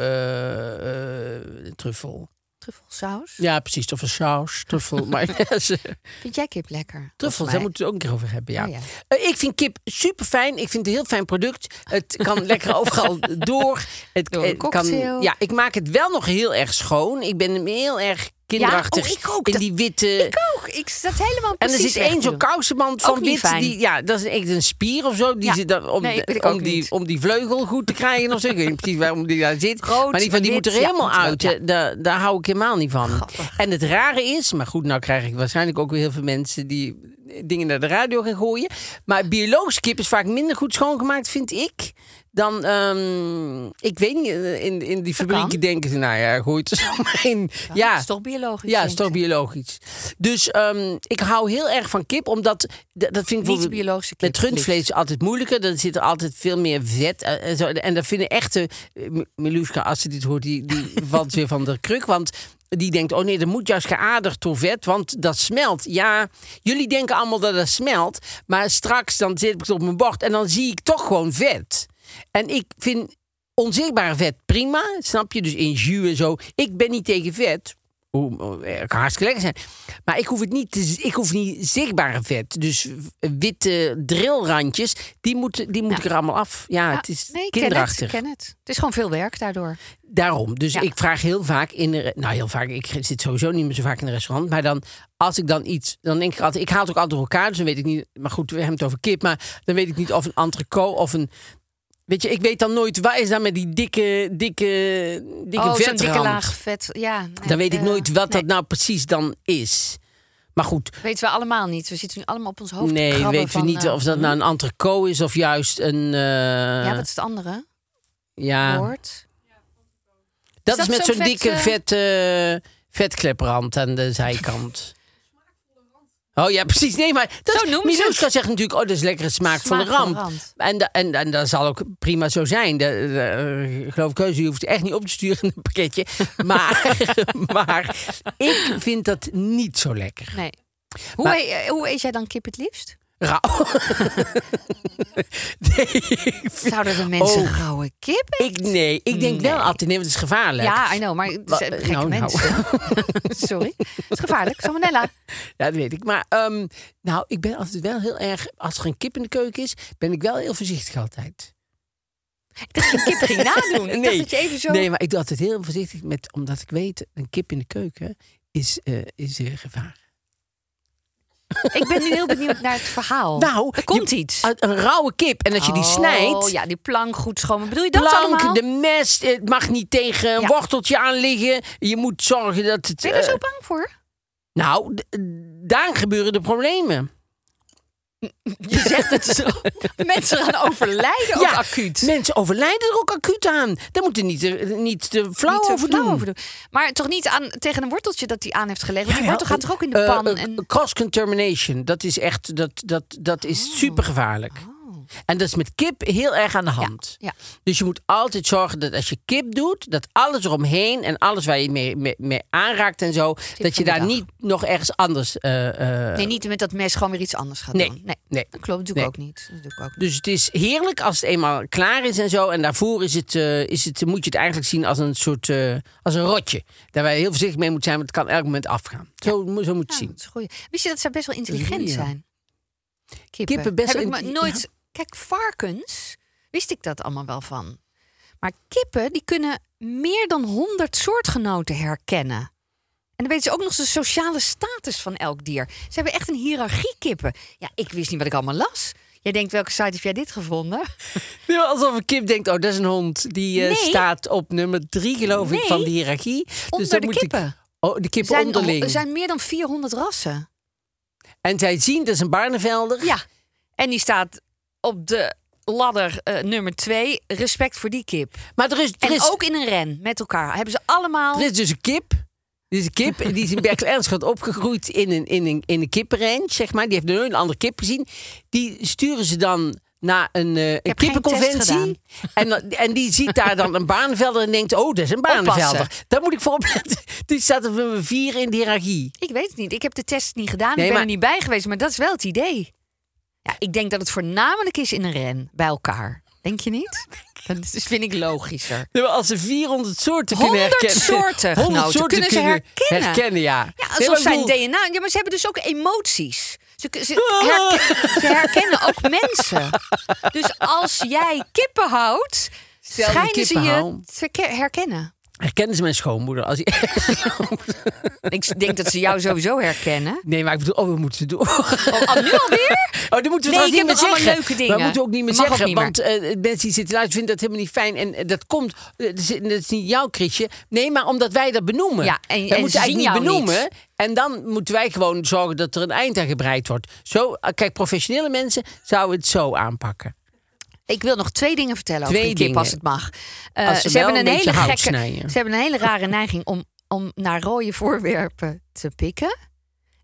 [SPEAKER 2] eh, eh, truffel.
[SPEAKER 3] Truffelsaus.
[SPEAKER 2] Ja, precies. Truffelsaus, truffel. maar ja, ze-
[SPEAKER 3] Vind jij kip lekker?
[SPEAKER 2] Truffels,
[SPEAKER 3] Volgens
[SPEAKER 2] daar
[SPEAKER 3] mij.
[SPEAKER 2] moeten we het ook een keer over hebben. Ja.
[SPEAKER 3] Oh, ja.
[SPEAKER 2] Eh, ik vind kip super fijn. Ik vind het een heel fijn product. Het kan lekker overal door. Het
[SPEAKER 3] Door een
[SPEAKER 2] eh,
[SPEAKER 3] cocktail.
[SPEAKER 2] ja, ik maak het wel nog heel erg schoon. Ik ben hem heel erg kinderachtig.
[SPEAKER 3] Ja, oh, ik ook.
[SPEAKER 2] In
[SPEAKER 3] Dat-
[SPEAKER 2] die witte.
[SPEAKER 3] Ik ook. Ik zat helemaal
[SPEAKER 2] en er
[SPEAKER 3] precies
[SPEAKER 2] zit één
[SPEAKER 3] weg
[SPEAKER 2] zo'n
[SPEAKER 3] nu.
[SPEAKER 2] kousenband van
[SPEAKER 3] Ook niet
[SPEAKER 2] wit.
[SPEAKER 3] fijn.
[SPEAKER 2] Die, ja, dat is echt een spier of zo. Die
[SPEAKER 3] Ja.
[SPEAKER 2] zit daar om,
[SPEAKER 3] Nee,
[SPEAKER 2] de-
[SPEAKER 3] weet ik
[SPEAKER 2] om
[SPEAKER 3] ook
[SPEAKER 2] die,
[SPEAKER 3] niet.
[SPEAKER 2] om die vleugel goed te krijgen. Of zo. Ik weet niet precies waarom die daar zit.
[SPEAKER 3] Rood,
[SPEAKER 2] maar die, van, die
[SPEAKER 3] wit,
[SPEAKER 2] moet er
[SPEAKER 3] ja,
[SPEAKER 2] helemaal
[SPEAKER 3] moet er ook,
[SPEAKER 2] uit.
[SPEAKER 3] ja.
[SPEAKER 2] hè. Daar, daar hou ik helemaal niet van.
[SPEAKER 3] Grappig.
[SPEAKER 2] En het rare is, maar goed, nou krijg ik waarschijnlijk ook weer heel veel mensen die dingen naar de radio gaan gooien. Maar biologische kip is vaak minder goed schoongemaakt, vind ik. Dan, ehm, ik weet niet, in, in die fabrieken
[SPEAKER 3] kan.
[SPEAKER 2] denken ze, nou ja, gooit er zo maar in. Ja,
[SPEAKER 3] is toch biologisch?
[SPEAKER 2] Ja,
[SPEAKER 3] denk
[SPEAKER 2] is toch
[SPEAKER 3] ik.
[SPEAKER 2] biologisch. Dus ehm, ik hou heel erg van kip, omdat d- dat vind ik bijvoorbeeld-
[SPEAKER 3] biologische kip,
[SPEAKER 2] Met rundvlees is altijd moeilijker. Dan zit er altijd veel meer vet. eh, en, zo. en dat vinden echte eh, M- Miluska, als ze dit hoort, die, die valt weer van de kruk. Want die denkt, oh nee, er moet juist geaardigd door vet, want dat smelt. Ja, jullie denken allemaal dat dat smelt, maar straks dan zit ik het op mijn bord en dan zie ik toch gewoon vet. En ik vind onzichtbaar vet prima, snap je? Dus in jus en zo. Ik ben niet tegen vet, hoe, hoe- eh, kan hartstikke lekker zijn. Maar ik hoef het niet, te, z- ik hoef niet zichtbare vet. Dus w- witte drillrandjes, die moet, die moet ik er allemaal af. Ja,
[SPEAKER 3] Ja,
[SPEAKER 2] het is
[SPEAKER 3] nee, ik ken het,
[SPEAKER 2] kinderachtig.
[SPEAKER 3] ik ken het. Het is gewoon veel werk daardoor.
[SPEAKER 2] Daarom. Dus
[SPEAKER 3] Ja.
[SPEAKER 2] ik vraag heel vaak in de. re- Nou, heel vaak. Ik zit sowieso niet meer zo vaak in een restaurant. Maar dan, als ik dan iets. Dan denk ik altijd. Ik haal het ook altijd door elkaar. Dus dan weet ik niet. Maar goed, we hebben het over kip. Maar dan weet ik niet of een entrecot of een. Weet je, ik weet dan nooit. Waar is dan met die dikke. Dikke. Dikke
[SPEAKER 3] oh, zo'n dikke
[SPEAKER 2] vetrand?
[SPEAKER 3] laag vet. Ja, nee,
[SPEAKER 2] Dan weet ik
[SPEAKER 3] eh,
[SPEAKER 2] nooit wat
[SPEAKER 3] nee,
[SPEAKER 2] dat nou precies dan is. Maar goed,
[SPEAKER 3] weten we allemaal niet. We zitten nu allemaal op ons hoofd. te
[SPEAKER 2] nee,
[SPEAKER 3] krabben
[SPEAKER 2] weten
[SPEAKER 3] van,
[SPEAKER 2] we niet
[SPEAKER 3] eh,
[SPEAKER 2] of dat nou een entrecot is of juist een. eh, Ah.
[SPEAKER 3] Ja, wat is het andere
[SPEAKER 2] ja.
[SPEAKER 3] woord?
[SPEAKER 2] dat
[SPEAKER 3] is
[SPEAKER 2] is,
[SPEAKER 3] dat
[SPEAKER 2] met
[SPEAKER 3] zo'n
[SPEAKER 2] zo'n
[SPEAKER 3] vet,
[SPEAKER 2] dikke
[SPEAKER 3] eh,
[SPEAKER 2] vette vetkleprand aan de zijkant. Oh ja, precies. Nee, maar dat
[SPEAKER 3] Zo
[SPEAKER 2] is-
[SPEAKER 3] noemen ze het.
[SPEAKER 2] Miluska zegt natuurlijk, oh, dat is lekkere smaak, van de
[SPEAKER 3] Smaak van
[SPEAKER 2] ramp.
[SPEAKER 3] de rand.
[SPEAKER 2] En, da- en, en dat zal ook prima zo zijn. De, de- eh, geloof ik keuze, je hoeft het echt niet op te sturen in een pakketje. Maar, maar ik vind dat niet zo lekker.
[SPEAKER 3] Nee. Hoe,
[SPEAKER 2] Maar-
[SPEAKER 3] e- eh, hoe eet jij dan kip het liefst?
[SPEAKER 2] Rauw. nee, ik, vind-
[SPEAKER 3] Zouden de mensen
[SPEAKER 2] Oh.
[SPEAKER 3] rauwe kip eten?
[SPEAKER 2] ik- nee, ik denk wel altijd, nee, want het is gevaarlijk.
[SPEAKER 3] Ja, I know, maar het
[SPEAKER 2] Wa-
[SPEAKER 3] zijn
[SPEAKER 2] eh,
[SPEAKER 3] gekke
[SPEAKER 2] nou, nou.
[SPEAKER 3] mensen. Sorry. Het is gevaarlijk. Salmonella.
[SPEAKER 2] Ja, dat weet ik. Maar ehm, nou, ik ben altijd wel heel erg, als er een kip in de keuken is, ben ik wel heel voorzichtig altijd.
[SPEAKER 3] Ik dacht dat je kip ging nadoen. Ik dacht
[SPEAKER 2] Nee.
[SPEAKER 3] dat je even zo...
[SPEAKER 2] Nee, maar ik doe altijd heel voorzichtig met, omdat ik weet, een kip in de keuken is, eh, is eh, gevaar.
[SPEAKER 3] Ik ben nu heel benieuwd naar het verhaal.
[SPEAKER 2] Nou,
[SPEAKER 3] er Oh. komt
[SPEAKER 2] je-
[SPEAKER 3] iets.
[SPEAKER 2] Een- Een rauwe kip. En als je die snijdt,
[SPEAKER 3] Oh ja, die plank goed schoon. Bedoel je dat allemaal?
[SPEAKER 2] plank, de mest, het mag niet tegen een
[SPEAKER 3] Ja.
[SPEAKER 2] worteltje aan liggen. Je moet zorgen dat het...
[SPEAKER 3] Ben je er
[SPEAKER 2] eh,
[SPEAKER 3] zo bang voor?
[SPEAKER 2] Nou, d- daar gebeuren de problemen.
[SPEAKER 3] Je zegt het zo. Mensen gaan overlijden ook acuut.
[SPEAKER 2] Mensen overlijden er ook acuut aan. Daar moeten niet, de- niet de flauw
[SPEAKER 3] Niet zo
[SPEAKER 2] over
[SPEAKER 3] flauw
[SPEAKER 2] doen.
[SPEAKER 3] over doen. Maar toch niet aan, tegen een worteltje dat hij aan heeft gelegd. Want die
[SPEAKER 2] Jawel,
[SPEAKER 3] wortel gaat toch ook in de
[SPEAKER 2] eh,
[SPEAKER 3] pan?
[SPEAKER 2] eh,
[SPEAKER 3] en...
[SPEAKER 2] Cross contamination, dat is echt, dat, dat, dat is
[SPEAKER 3] Oh.
[SPEAKER 2] super gevaarlijk. En dat is met kip heel erg aan de hand.
[SPEAKER 3] ja.
[SPEAKER 2] Dus je moet altijd zorgen dat als je kip doet, dat alles eromheen en alles waar je mee, mee, mee aanraakt en zo, dat je
[SPEAKER 3] van de
[SPEAKER 2] daar
[SPEAKER 3] dag.
[SPEAKER 2] niet nog ergens anders. eh, eh,
[SPEAKER 3] Nee, niet met dat mes gewoon weer iets anders gaat
[SPEAKER 2] Nee,
[SPEAKER 3] doen. Nee,
[SPEAKER 2] nee.
[SPEAKER 3] dat klopt. Dat doe ik
[SPEAKER 2] Nee.
[SPEAKER 3] ook niet. Dat doe ik ook niet.
[SPEAKER 2] dus het is heerlijk als het eenmaal klaar is en zo. En daarvoor is het, eh, is het, moet je het eigenlijk zien als een soort eh, als een rotje. Daar waar je heel voorzichtig mee moet zijn, want het kan elk moment afgaan. Zo, mo- zo moet je
[SPEAKER 3] Ja,
[SPEAKER 2] het zien.
[SPEAKER 3] dat is een goeie. Wist je dat ze best wel intelligent
[SPEAKER 2] Ja.
[SPEAKER 3] zijn? Kippen.
[SPEAKER 2] Kippen best
[SPEAKER 3] Heb ik maar
[SPEAKER 2] intelli-
[SPEAKER 3] nooit... Kijk, varkens, wist ik dat allemaal wel van. Maar kippen, die kunnen meer dan 100 soortgenoten herkennen. En dan weten ze ook nog eens de sociale status van elk dier. Ze hebben echt een hiërarchie kippen. Ja, ik wist niet wat ik allemaal las. Jij denkt, welke site heb jij dit gevonden?
[SPEAKER 2] Dus Nee, maar alsof een kip denkt, oh, dat is een hond. Die eh,
[SPEAKER 3] Nee.
[SPEAKER 2] staat op nummer drie, geloof ik,
[SPEAKER 3] Nee.
[SPEAKER 2] van de hiërarchie. Dus
[SPEAKER 3] Onder
[SPEAKER 2] dan
[SPEAKER 3] de
[SPEAKER 2] moet ik-
[SPEAKER 3] kippen.
[SPEAKER 2] oh, de kippen
[SPEAKER 3] Zijn,
[SPEAKER 2] onderling.
[SPEAKER 3] er zijn meer dan 400 rassen.
[SPEAKER 2] En zij zien, dat is een Barnevelder.
[SPEAKER 3] Ja, en die staat op de ladder eh, nummer 2. Respect voor die kip.
[SPEAKER 2] Maar er is, er,
[SPEAKER 3] En
[SPEAKER 2] is,
[SPEAKER 3] ook in een ren met elkaar. Hebben ze allemaal.
[SPEAKER 2] er is dus een kip. Er is een kip die is in Berkel Ernstgat opgegroeid in een, in een, in een kippenrange, zeg maar. Die heeft nooit een andere kip gezien. Die sturen ze dan naar een, eh een
[SPEAKER 3] heb geen test gedaan.
[SPEAKER 2] kippenconventie. En, dan- en die ziet daar dan een Barnevelder en denkt, oh, dat is een Barnevelder.
[SPEAKER 3] Oppassen.
[SPEAKER 2] Daar moet ik voor opletten. Die staat op nummer vier in de hiërarchie.
[SPEAKER 3] Ik weet het niet. Ik heb de test niet gedaan.
[SPEAKER 2] Nee,
[SPEAKER 3] ik ben
[SPEAKER 2] maar-
[SPEAKER 3] er niet bij geweest. Maar dat is wel het idee. Ja, ik denk dat het voornamelijk is in een ren bij elkaar. Denk je niet? Dat is- vind ik logischer.
[SPEAKER 2] Ja, maar als ze 400 soorten
[SPEAKER 3] 100
[SPEAKER 2] kunnen herkennen.
[SPEAKER 3] soorten, genoten. Kunnen ze herkennen?
[SPEAKER 2] ja.
[SPEAKER 3] Ja,
[SPEAKER 2] Nee,
[SPEAKER 3] alsof
[SPEAKER 2] maar ik
[SPEAKER 3] zijn
[SPEAKER 2] bedoel,
[SPEAKER 3] DNA. Ja, maar ze hebben dus ook emoties. Ze, ze, herken- ze herkennen ook mensen. Dus als jij kippen houdt,
[SPEAKER 2] je
[SPEAKER 3] schijnen ze
[SPEAKER 2] kippen
[SPEAKER 3] je
[SPEAKER 2] houdt.
[SPEAKER 3] te herke- herkennen.
[SPEAKER 2] Herkennen ze mijn schoonmoeder als die ergens loopt?
[SPEAKER 3] Ik denk dat ze jou sowieso herkennen.
[SPEAKER 2] Nee, maar ik bedoel, oh, we moeten door.
[SPEAKER 3] Oh, oh, nu alweer?
[SPEAKER 2] Oh, dan moeten we
[SPEAKER 3] Nee,
[SPEAKER 2] trouwens
[SPEAKER 3] ik heb
[SPEAKER 2] niet meer
[SPEAKER 3] nog allemaal
[SPEAKER 2] zeggen.
[SPEAKER 3] leuke
[SPEAKER 2] Maar
[SPEAKER 3] dingen.
[SPEAKER 2] we moeten ook niet meer
[SPEAKER 3] Mag ook
[SPEAKER 2] zeggen.
[SPEAKER 3] niet meer.
[SPEAKER 2] Want eh, mensen die zitten luisteren vinden dat helemaal niet fijn. En eh, dat komt, eh, dat is, dat is niet jouw Chrisje. Nee, maar omdat wij dat benoemen.
[SPEAKER 3] Ja, en-
[SPEAKER 2] wij
[SPEAKER 3] en
[SPEAKER 2] moeten
[SPEAKER 3] ze
[SPEAKER 2] eigenlijk
[SPEAKER 3] zien
[SPEAKER 2] niet
[SPEAKER 3] jou
[SPEAKER 2] benoemen. En dan moeten wij gewoon zorgen dat er een eind aan gebreid wordt. Zo, eh, kijk, professionele mensen zouden het zo aanpakken.
[SPEAKER 3] Ik wil nog twee dingen vertellen
[SPEAKER 2] Twee
[SPEAKER 3] over die kip
[SPEAKER 2] dingen.
[SPEAKER 3] als het mag. Eh,
[SPEAKER 2] Als ze
[SPEAKER 3] ze, hebben
[SPEAKER 2] wel
[SPEAKER 3] een
[SPEAKER 2] een beetje
[SPEAKER 3] hele
[SPEAKER 2] hout
[SPEAKER 3] gekke,
[SPEAKER 2] snijden.
[SPEAKER 3] ze hebben een hele rare neiging om, om naar rode voorwerpen te pikken.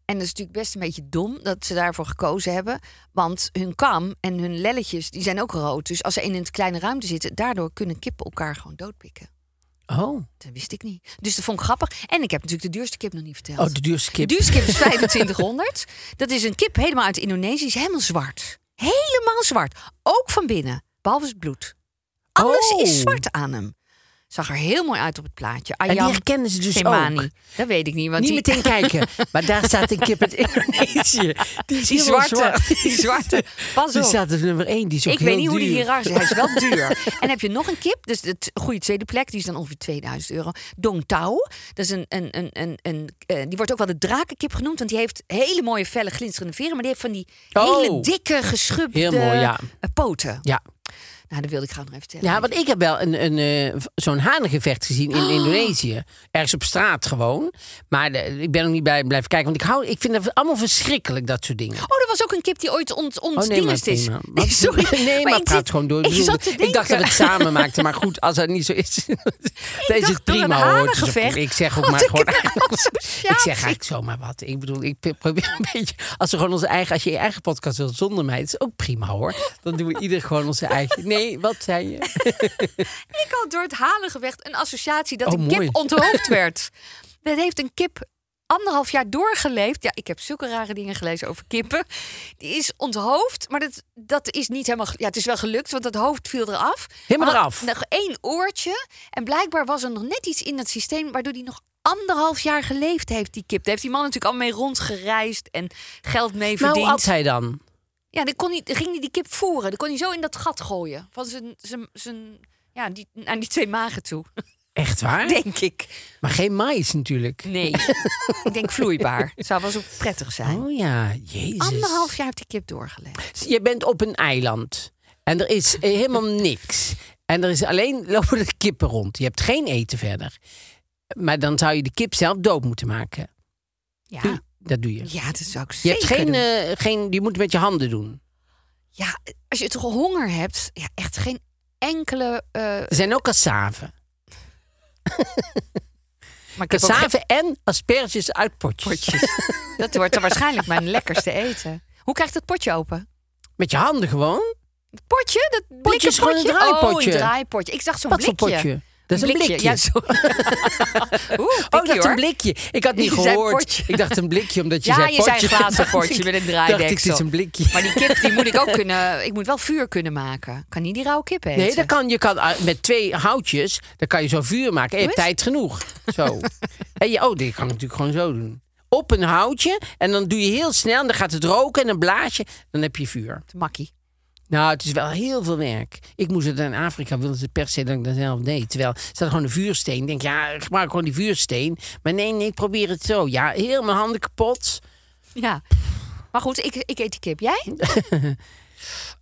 [SPEAKER 3] En dat is natuurlijk best een beetje dom dat ze daarvoor gekozen hebben. Want hun kam en hun lelletjes die zijn ook rood. Dus als ze in een kleine ruimte zitten, daardoor kunnen kippen elkaar gewoon doodpikken.
[SPEAKER 2] Oh,
[SPEAKER 3] Dat wist ik niet. Dus dat vond ik grappig. En ik heb natuurlijk de duurste kip nog niet verteld.
[SPEAKER 2] oh de duurste kip.
[SPEAKER 3] De duurste kip is 2500. Dat is een kip helemaal uit Indonesië. Is helemaal zwart. Helemaal zwart. Ook van binnen. Behalve het bloed. Alles
[SPEAKER 2] Oh.
[SPEAKER 3] is zwart aan hem. Zag er heel mooi uit op het plaatje.
[SPEAKER 2] en die
[SPEAKER 3] Ayam
[SPEAKER 2] herkennen ze dus
[SPEAKER 3] Semani.
[SPEAKER 2] ook.
[SPEAKER 3] Dat weet ik niet. Want
[SPEAKER 2] Niet
[SPEAKER 3] die,
[SPEAKER 2] meteen kijken. Maar daar staat een kip uit Indonesië. Die is
[SPEAKER 3] die
[SPEAKER 2] helemaal
[SPEAKER 3] zwarte.
[SPEAKER 2] zwart.
[SPEAKER 3] Die zwarte. Pas
[SPEAKER 2] Die
[SPEAKER 3] op.
[SPEAKER 2] staat op nummer 1. Die is ook
[SPEAKER 3] Ik weet
[SPEAKER 2] heel
[SPEAKER 3] niet hoe die
[SPEAKER 2] duur.
[SPEAKER 3] hier raar is. Hij is wel duur. En heb je nog een kip? Dus de t- goede tweede plek. Die is dan ongeveer 2000 euro. Dong Tao. Dat is een, een, een, een, een, eh, die wordt ook wel de drakenkip genoemd. Want die heeft hele mooie, felle, glinsterende veren. Maar die heeft van die
[SPEAKER 2] Oh.
[SPEAKER 3] hele dikke, geschubde
[SPEAKER 2] Heel mooi, ja.
[SPEAKER 3] eh, poten.
[SPEAKER 2] Ja.
[SPEAKER 3] Nou, dat wilde ik graag nog even vertellen.
[SPEAKER 2] Ja, want ik heb wel een, een, eh, v- zo'n hanengevecht gezien in Indonesië. Ergens op straat gewoon. Maar de- ik ben ook niet bij blijven kijken. Want ik, hou, ik vind dat allemaal verschrikkelijk, dat soort dingen.
[SPEAKER 3] Oh, er was ook een kip die ooit ont,
[SPEAKER 2] Oh nee, maar
[SPEAKER 3] ontdingest is.
[SPEAKER 2] prima. Wat-
[SPEAKER 3] sorry.
[SPEAKER 2] Nee, maar,
[SPEAKER 3] ik
[SPEAKER 2] praat
[SPEAKER 3] zit-
[SPEAKER 2] gewoon door.
[SPEAKER 3] Ik
[SPEAKER 2] bedoel,
[SPEAKER 3] zat te denken.
[SPEAKER 2] ik dacht dat ik samen maakte, maar goed, als dat niet zo is, dan is
[SPEAKER 3] dacht
[SPEAKER 2] het
[SPEAKER 3] door een
[SPEAKER 2] prima hoor. Het is ook-
[SPEAKER 3] hanengevecht,
[SPEAKER 2] Ik zeg ook
[SPEAKER 3] had
[SPEAKER 2] maar
[SPEAKER 3] ik
[SPEAKER 2] gewoon.
[SPEAKER 3] een
[SPEAKER 2] Ik zeg eigenlijk zomaar wat. Ik bedoel, ik p- probeer een beetje. Als we gewoon onze eigen, als je je eigen podcast wilt zonder mij, het is ook prima hoor. Dan doen we ieder gewoon onze eigen. Nee, wat zei je?
[SPEAKER 3] Ik had door het halengevecht een associatie dat
[SPEAKER 2] Oh,
[SPEAKER 3] een
[SPEAKER 2] mooi.
[SPEAKER 3] kip onthoofd werd. Dat heeft een kip anderhalf jaar doorgeleefd. Ja, ik heb zulke rare dingen gelezen over kippen. Die is onthoofd, maar dat, dat is niet helemaal... ge- Ja, het is wel gelukt, want dat hoofd viel eraf.
[SPEAKER 2] Helemaal
[SPEAKER 3] Maar
[SPEAKER 2] eraf.
[SPEAKER 3] Nog één oortje. En blijkbaar was er nog net iets in dat systeem... waardoor die nog anderhalf jaar geleefd heeft, die kip. Daar heeft die man natuurlijk al mee rondgereisd en geld mee
[SPEAKER 2] Nou, hoe
[SPEAKER 3] verdiend.
[SPEAKER 2] at hij dan?
[SPEAKER 3] Ja, dan, kon hij, dan ging hij die kip voeren. Dan kon hij zo in dat gat gooien. Van zijn, zijn, zijn, ja, die, aan die twee magen toe,
[SPEAKER 2] Echt waar?
[SPEAKER 3] denk ik.
[SPEAKER 2] Maar geen mais natuurlijk.
[SPEAKER 3] Nee, ik denk vloeibaar. Zou wel zo prettig zijn.
[SPEAKER 2] Oh ja, jezus.
[SPEAKER 3] Anderhalf jaar heeft die kip doorgeleefd.
[SPEAKER 2] Je bent op een eiland en er is eh, helemaal niks. En er is alleen lopen de kippen rond. Je hebt geen eten verder. Maar dan zou je de kip zelf dood moeten maken. Hm,
[SPEAKER 3] Ja,
[SPEAKER 2] Dat doe je.
[SPEAKER 3] ja dat zou ik
[SPEAKER 2] Je
[SPEAKER 3] zeker
[SPEAKER 2] hebt geen,
[SPEAKER 3] doen.
[SPEAKER 2] eh, geen, je moet het met je handen doen.
[SPEAKER 3] Ja, als je toch honger hebt, ja, echt geen enkele... eh,
[SPEAKER 2] Er zijn ook cassaven.
[SPEAKER 3] maar ik heb ook geen
[SPEAKER 2] Cassaven en asperges uit potjes.
[SPEAKER 3] potjes. dat wordt dan waarschijnlijk mijn lekkerste eten. Hoe krijg je dat potje open?
[SPEAKER 2] Met je handen gewoon.
[SPEAKER 3] Het potje? Dat
[SPEAKER 2] Potje
[SPEAKER 3] blikken
[SPEAKER 2] is gewoon een
[SPEAKER 3] potje? Oh,
[SPEAKER 2] draaipotje.
[SPEAKER 3] een draaipotje. Ik dacht zo'n
[SPEAKER 2] Wat voor
[SPEAKER 3] blikje.
[SPEAKER 2] potje? Dat is een blikje.
[SPEAKER 3] Ja, sorry.
[SPEAKER 2] Oh,
[SPEAKER 3] Oeh, pikkie,
[SPEAKER 2] ik dacht
[SPEAKER 3] hoor.
[SPEAKER 2] een blikje. Ik had niet
[SPEAKER 3] Je zei
[SPEAKER 2] gehoord.
[SPEAKER 3] potje.
[SPEAKER 2] Ik dacht een blikje, omdat je
[SPEAKER 3] ja,
[SPEAKER 2] zei
[SPEAKER 3] je
[SPEAKER 2] potje.
[SPEAKER 3] zei een glazen
[SPEAKER 2] Dacht
[SPEAKER 3] potje
[SPEAKER 2] ik-
[SPEAKER 3] met een
[SPEAKER 2] dacht
[SPEAKER 3] draaideksel.
[SPEAKER 2] ik, het is een blikje.
[SPEAKER 3] Maar die kip die moet ik ook kunnen. Ik moet wel vuur kunnen maken. Kan niet die rauwe kip eten.
[SPEAKER 2] Nee, dat kan, je kan ah, met twee houtjes, dan kan je zo vuur maken. En je hebt
[SPEAKER 3] Hoe
[SPEAKER 2] tijd genoeg. Zo. en je, oh, dit kan ik natuurlijk gewoon zo doen. Op een houtje en dan doe je heel snel en dan gaat het roken en dan blaas je. Dan heb je vuur.
[SPEAKER 3] Makkie.
[SPEAKER 2] Nou, het is wel heel veel werk. Ik moest het in Afrika, wilden ze per se dat ik dat zelf deed. Terwijl, ze hadden gewoon een vuursteen. Ik denk, ja, gebruik gewoon die vuursteen. Maar nee, nee, ik probeer het zo. Ja, heel mijn handen kapot.
[SPEAKER 3] Ja. Maar goed, ik, ik eet die kip. Jij?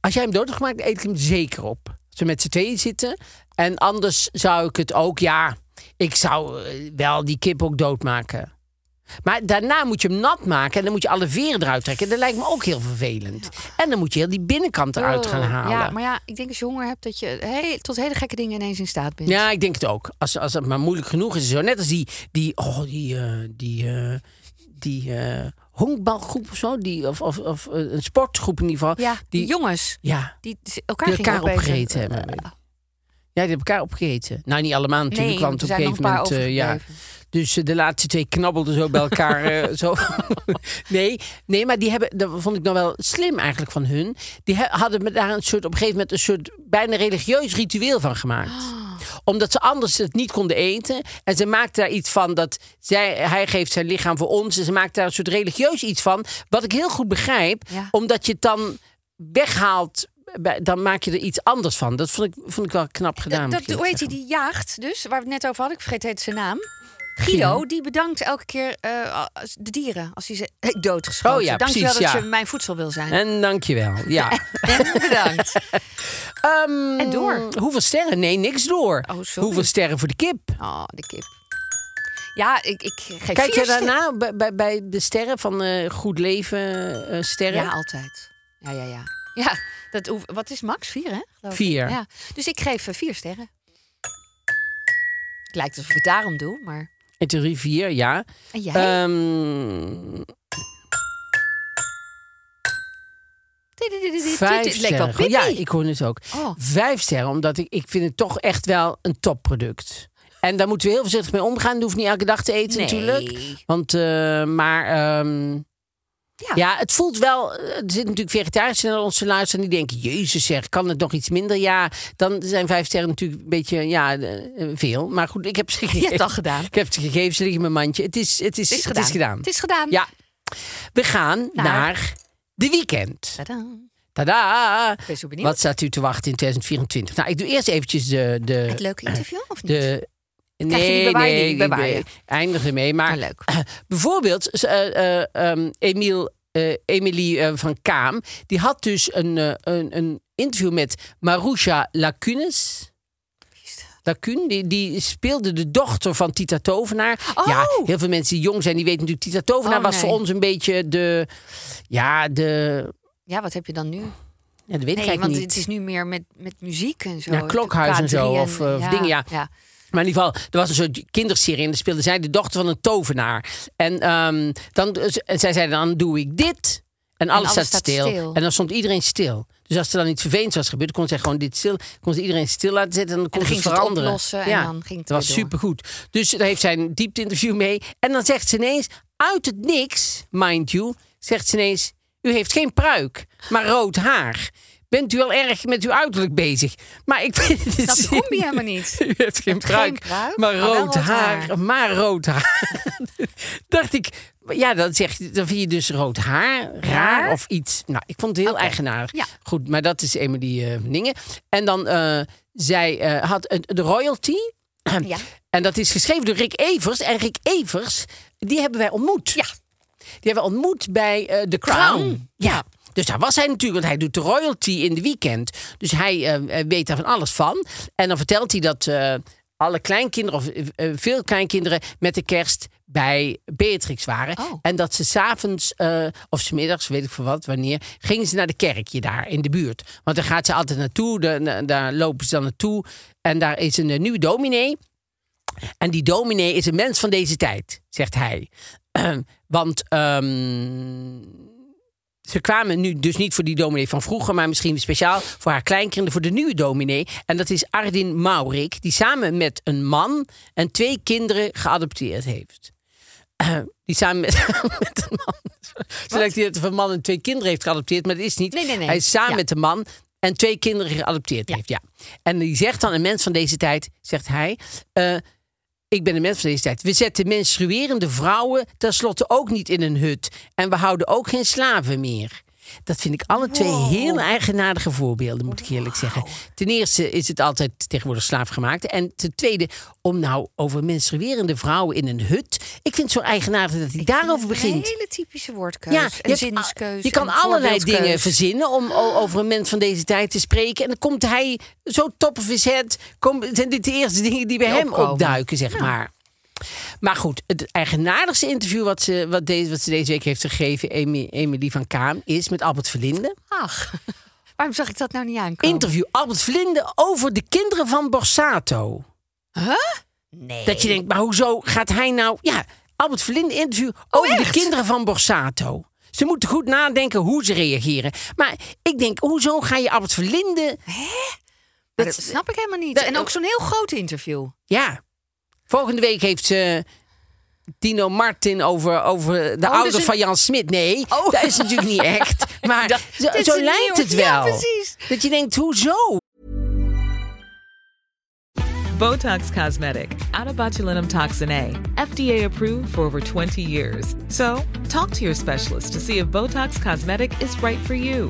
[SPEAKER 2] Als jij hem dood hebt gemaakt, eet ik hem zeker op. Als we met z'n tweeën zitten. En anders zou ik het ook, ja, ik zou eh, wel die kip ook doodmaken. Maar daarna moet je hem nat maken en dan moet je alle veren eruit trekken. Dat lijkt me ook heel vervelend. En dan moet je heel die binnenkant eruit gaan
[SPEAKER 3] Oh.
[SPEAKER 2] halen.
[SPEAKER 3] Ja, maar ja, ik denk als je honger hebt dat je he- tot hele gekke dingen ineens in staat bent.
[SPEAKER 2] Ja, ik denk het ook. Als, als het maar moeilijk genoeg is. Zo. Net als die, die, oh, die, eh, die, eh, die eh honkbalgroep of zo. Die, of, of, of eh, een sportgroep in ieder geval.
[SPEAKER 3] Ja, die,
[SPEAKER 2] die,
[SPEAKER 3] jongens
[SPEAKER 2] ja,
[SPEAKER 3] die z- elkaar,
[SPEAKER 2] die
[SPEAKER 3] gingen
[SPEAKER 2] elkaar
[SPEAKER 3] opeten.
[SPEAKER 2] opgegeten hebben.
[SPEAKER 3] Eh,
[SPEAKER 2] Ja, die hebben elkaar opgegeten. Nou, niet allemaal natuurlijk,
[SPEAKER 3] nee, want
[SPEAKER 2] want
[SPEAKER 3] er
[SPEAKER 2] op een
[SPEAKER 3] zijn nog
[SPEAKER 2] gegeven
[SPEAKER 3] een paar
[SPEAKER 2] moment... eh, ja.
[SPEAKER 3] overgebleven.
[SPEAKER 2] Dus eh, de laatste twee knabbelden zo bij elkaar. eh, zo. nee, nee, maar die hebben, dat vond ik nou wel slim eigenlijk van hun. Die he- hadden me daar een soort, op een gegeven moment een soort bijna religieus ritueel van gemaakt.
[SPEAKER 3] Ah.
[SPEAKER 2] Omdat ze anders het niet konden eten. En ze maakten daar iets van dat zij, hij geeft zijn lichaam voor ons. En ze maakten daar een soort religieus iets van. Wat ik heel goed begrijp,
[SPEAKER 3] Ja.
[SPEAKER 2] omdat je het dan weghaalt bij- dan maak je er iets anders van. Dat vond ik, vond ik wel knap gedaan. moet
[SPEAKER 3] Dat,
[SPEAKER 2] ik eerlijk
[SPEAKER 3] hoe heet hij,
[SPEAKER 2] zeggen.
[SPEAKER 3] die jaagt dus, waar we het net over hadden. Ik vergeet heet zijn naam.
[SPEAKER 2] Guido.
[SPEAKER 3] Guido, die bedankt elke keer eh, als- de dieren als hij ze heeft doodgeschoten.
[SPEAKER 2] Oh ja,
[SPEAKER 3] Dankjewel
[SPEAKER 2] precies,
[SPEAKER 3] dat
[SPEAKER 2] ja.
[SPEAKER 3] je mijn voedsel wil zijn.
[SPEAKER 2] En dankjewel. Ja.
[SPEAKER 3] En bedankt.
[SPEAKER 2] Ehm,
[SPEAKER 3] En door.
[SPEAKER 2] Hoeveel sterren? Nee, niks door.
[SPEAKER 3] Oh, sorry.
[SPEAKER 2] hoeveel sterren voor de kip?
[SPEAKER 3] Oh, de kip. Ja, ik, ik geef
[SPEAKER 2] Kijk
[SPEAKER 3] vier
[SPEAKER 2] je
[SPEAKER 3] sterren.
[SPEAKER 2] daarna bij, bij, bij de sterren van eh, Goed Leven eh, sterren?
[SPEAKER 3] Ja, altijd. Ja, ja, ja. ja dat, hoef- wat is max? Vier, hè? geloof ik.
[SPEAKER 2] Vier.
[SPEAKER 3] Ja. Dus ik geef eh, vier sterren. Het lijkt alsof ik het daarom doe, maar...
[SPEAKER 2] In theorie vier, ja.
[SPEAKER 3] En jij?
[SPEAKER 2] Eh, Ehm, vijf
[SPEAKER 3] Het leek wel
[SPEAKER 2] sterren. Ja,
[SPEAKER 3] Pippi.
[SPEAKER 2] ik hoor het ook.
[SPEAKER 3] Oh.
[SPEAKER 2] Vijf sterren, omdat ik, ik vind het toch echt wel een topproduct. En daar moeten we heel voorzichtig mee omgaan. Je hoeft niet elke dag te eten
[SPEAKER 3] Nee.
[SPEAKER 2] natuurlijk. Want, eh, maar ehm,
[SPEAKER 3] Ja.
[SPEAKER 2] Ja, het voelt wel. eh, Er zitten natuurlijk vegetariërs in onze luisteren. Die denken: Jezus, zeg, kan het nog iets minder? Ja, dan zijn vijf sterren natuurlijk een beetje ja, eh, veel. Maar goed, ik heb ze gegeven.
[SPEAKER 3] Je hebt het al gedaan.
[SPEAKER 2] Ik heb ze gegeven, ze liggen in mijn mandje. Het is, het is,
[SPEAKER 3] Het is gedaan.
[SPEAKER 2] Het is gedaan.
[SPEAKER 3] Het is gedaan.
[SPEAKER 2] Ja. We gaan
[SPEAKER 3] Naar-
[SPEAKER 2] naar de weekend.
[SPEAKER 3] Tadaa.
[SPEAKER 2] Tada!
[SPEAKER 3] ben zo benieuwd.
[SPEAKER 2] Wat staat u te wachten in 2024? Nou, ik doe eerst eventjes de. de
[SPEAKER 3] Het leuke interview, of niet?
[SPEAKER 2] eh, de
[SPEAKER 3] Krijg je die bewaar je, die bewaar je.
[SPEAKER 2] ik eindig ermee. Maar
[SPEAKER 3] Maar Ah, leuk.
[SPEAKER 2] Bijvoorbeeld, z- eh, eh, ehm, Emiel, eh, Emilie eh, van Kaam, die had dus een, eh, een, een interview met Marusha Lacunes. Lacune, die, die speelde de dochter van Tita Tovenaar.
[SPEAKER 3] Oh!
[SPEAKER 2] Ja, heel veel mensen die jong zijn, die weten natuurlijk... Tita Tovenaar
[SPEAKER 3] Oh,
[SPEAKER 2] was
[SPEAKER 3] nee.
[SPEAKER 2] voor ons een beetje de... Ja, de...
[SPEAKER 3] Ja, wat heb je dan nu?
[SPEAKER 2] Ja, dat weet ik
[SPEAKER 3] Nee,
[SPEAKER 2] eigenlijk
[SPEAKER 3] want
[SPEAKER 2] niet.
[SPEAKER 3] het is nu meer met, met muziek en zo.
[SPEAKER 2] Ja, klokhuis en zo,
[SPEAKER 3] K3
[SPEAKER 2] of, eh, of dingen, ja.
[SPEAKER 3] ja.
[SPEAKER 2] Maar in ieder geval, er was een soort kinderserie en daar speelde zij de dochter van een tovenaar. En ehm, dan, en zij zei dan doe ik dit. En alles,
[SPEAKER 3] alles
[SPEAKER 2] staat,
[SPEAKER 3] staat
[SPEAKER 2] stil.
[SPEAKER 3] stil.
[SPEAKER 2] En dan stond iedereen stil. Dus als er dan iets vervelends was gebeurd, kon zij gewoon dit stil, kon ze iedereen stil laten zitten en dan kon
[SPEAKER 3] dan
[SPEAKER 2] ze
[SPEAKER 3] ging ze het
[SPEAKER 2] veranderen.
[SPEAKER 3] oplossen en dan ging het
[SPEAKER 2] dat was
[SPEAKER 3] weer door.
[SPEAKER 2] supergoed. Dus daar heeft zij een diepte interview mee. En dan zegt ze ineens, uit het niks, mind you, zegt ze ineens: U heeft geen pruik, maar rood haar. Bent u wel erg met uw uiterlijk bezig? Maar ik vind het
[SPEAKER 3] Dat
[SPEAKER 2] zin-
[SPEAKER 3] kom je helemaal niet.
[SPEAKER 2] u heeft geen
[SPEAKER 3] hebt geen
[SPEAKER 2] pruik, maar
[SPEAKER 3] pruik, maar wel
[SPEAKER 2] rood
[SPEAKER 3] rood
[SPEAKER 2] haar,
[SPEAKER 3] haar.
[SPEAKER 2] Maar rood haar. Dacht ik, ja, dan, zeg, je- dan vind je dus rood haar raar
[SPEAKER 3] Raar?
[SPEAKER 2] of iets. Nou, ik vond het heel eigenaardig.
[SPEAKER 3] ja.
[SPEAKER 2] Goed, maar dat is Emily eh Ningen. En dan, eh, zij eh, had een, de royalty.
[SPEAKER 3] Ja.
[SPEAKER 2] En dat is geschreven door Rick Evers. En Rick Evers, die hebben wij ontmoet.
[SPEAKER 3] Ja.
[SPEAKER 2] Die hebben we ontmoet bij eh The Crown.
[SPEAKER 3] Crown,
[SPEAKER 2] Ja. Dus daar was hij natuurlijk, want hij doet de royalty in de weekend. Dus hij eh, eh, weet daar van alles van. En dan vertelt hij dat eh, alle kleinkinderen, of eh, eh, veel kleinkinderen, met de kerst bij Beatrix waren.
[SPEAKER 3] Oh.
[SPEAKER 2] En dat ze s'avonds, eh of smiddags, weet ik voor wat, wanneer, gingen ze naar de kerkje daar in de buurt. Want daar gaat ze altijd naartoe, daar- daar- daar lopen ze dan naartoe. En daar is een eh, nieuwe dominee. En die dominee is een mens van deze tijd, zegt hij. Want ehm, ze kwamen nu dus niet voor die dominee van vroeger, maar misschien speciaal voor haar kleinkinderen, voor de nieuwe dominee. En dat is Ardin Maurik, die samen met een man en twee kinderen geadopteerd heeft. Eh, die samen met, met een man. Ze lijkt die het van man en twee kinderen heeft geadopteerd, maar dat is niet.
[SPEAKER 3] Nee, nee, nee.
[SPEAKER 2] Hij is samen
[SPEAKER 3] Ja.
[SPEAKER 2] met een man en twee kinderen geadopteerd heeft. Ja. En die zegt dan, een mens van deze tijd, zegt hij. eh, ik ben een mens van deze tijd. We zetten menstruerende vrouwen tenslotte ook niet in een hut. En we houden ook geen slaven meer. Dat vind ik alle twee heel eigenaardige voorbeelden, moet ik eerlijk zeggen. Ten eerste is het altijd tegenwoordig slaafgemaakt. En ten tweede, om nou over menstruerende vrouwen in een hut. Ik vind het zo eigenaardig dat hij daarover
[SPEAKER 3] Een
[SPEAKER 2] begint.
[SPEAKER 3] hele typische woordkeuze.
[SPEAKER 2] Ja,
[SPEAKER 3] en
[SPEAKER 2] je, hebt al-
[SPEAKER 3] zinskeuze.
[SPEAKER 2] je kan
[SPEAKER 3] en
[SPEAKER 2] allerlei
[SPEAKER 3] voorbeeldkeus.
[SPEAKER 2] dingen verzinnen om o- over een mens van deze tijd te spreken. En dan komt hij zo top of his head. Kom, zijn dit de eerste dingen die bij
[SPEAKER 3] Die
[SPEAKER 2] hem
[SPEAKER 3] opkomen.
[SPEAKER 2] opduiken, zeg maar. Maar goed, het eigenaardigste interview wat ze, wat deze, wat ze deze week heeft gegeven, Emi- Emily van Kaam, is met Albert Verlinde.
[SPEAKER 3] Ach, waarom zag ik dat nou niet aankomen?
[SPEAKER 2] Interview Albert Verlinde over de kinderen van Borsato.
[SPEAKER 3] nee.
[SPEAKER 2] Dat je denkt, maar hoezo gaat hij nou... Ja, Albert Verlinde interview over de
[SPEAKER 3] Oh, echt?
[SPEAKER 2] kinderen van Borsato. Ze moeten goed nadenken hoe ze reageren. Maar ik denk, hoezo ga je Albert Verlinde...
[SPEAKER 3] Maar dat, snap ik helemaal niet.
[SPEAKER 2] dat-
[SPEAKER 3] en ook zo'n heel groot interview.
[SPEAKER 2] Ja, volgende week heeft ze... Dino Martin over, over de ouder
[SPEAKER 3] dus
[SPEAKER 2] van
[SPEAKER 3] een-
[SPEAKER 2] Jan Smit. Nee,
[SPEAKER 3] Oh.
[SPEAKER 2] dat is natuurlijk niet echt. Maar
[SPEAKER 3] Dat-
[SPEAKER 2] zo,
[SPEAKER 3] dit is
[SPEAKER 2] zo
[SPEAKER 3] een
[SPEAKER 2] lijkt
[SPEAKER 3] nieuw-
[SPEAKER 2] het wel.
[SPEAKER 3] Ja, precies.
[SPEAKER 2] Dat je denkt, hoezo?
[SPEAKER 5] Botox Cosmetic, out of botulinum toxin A, FDA approved for over 20 years. So, talk to your specialist to see if Botox Cosmetic is right for you.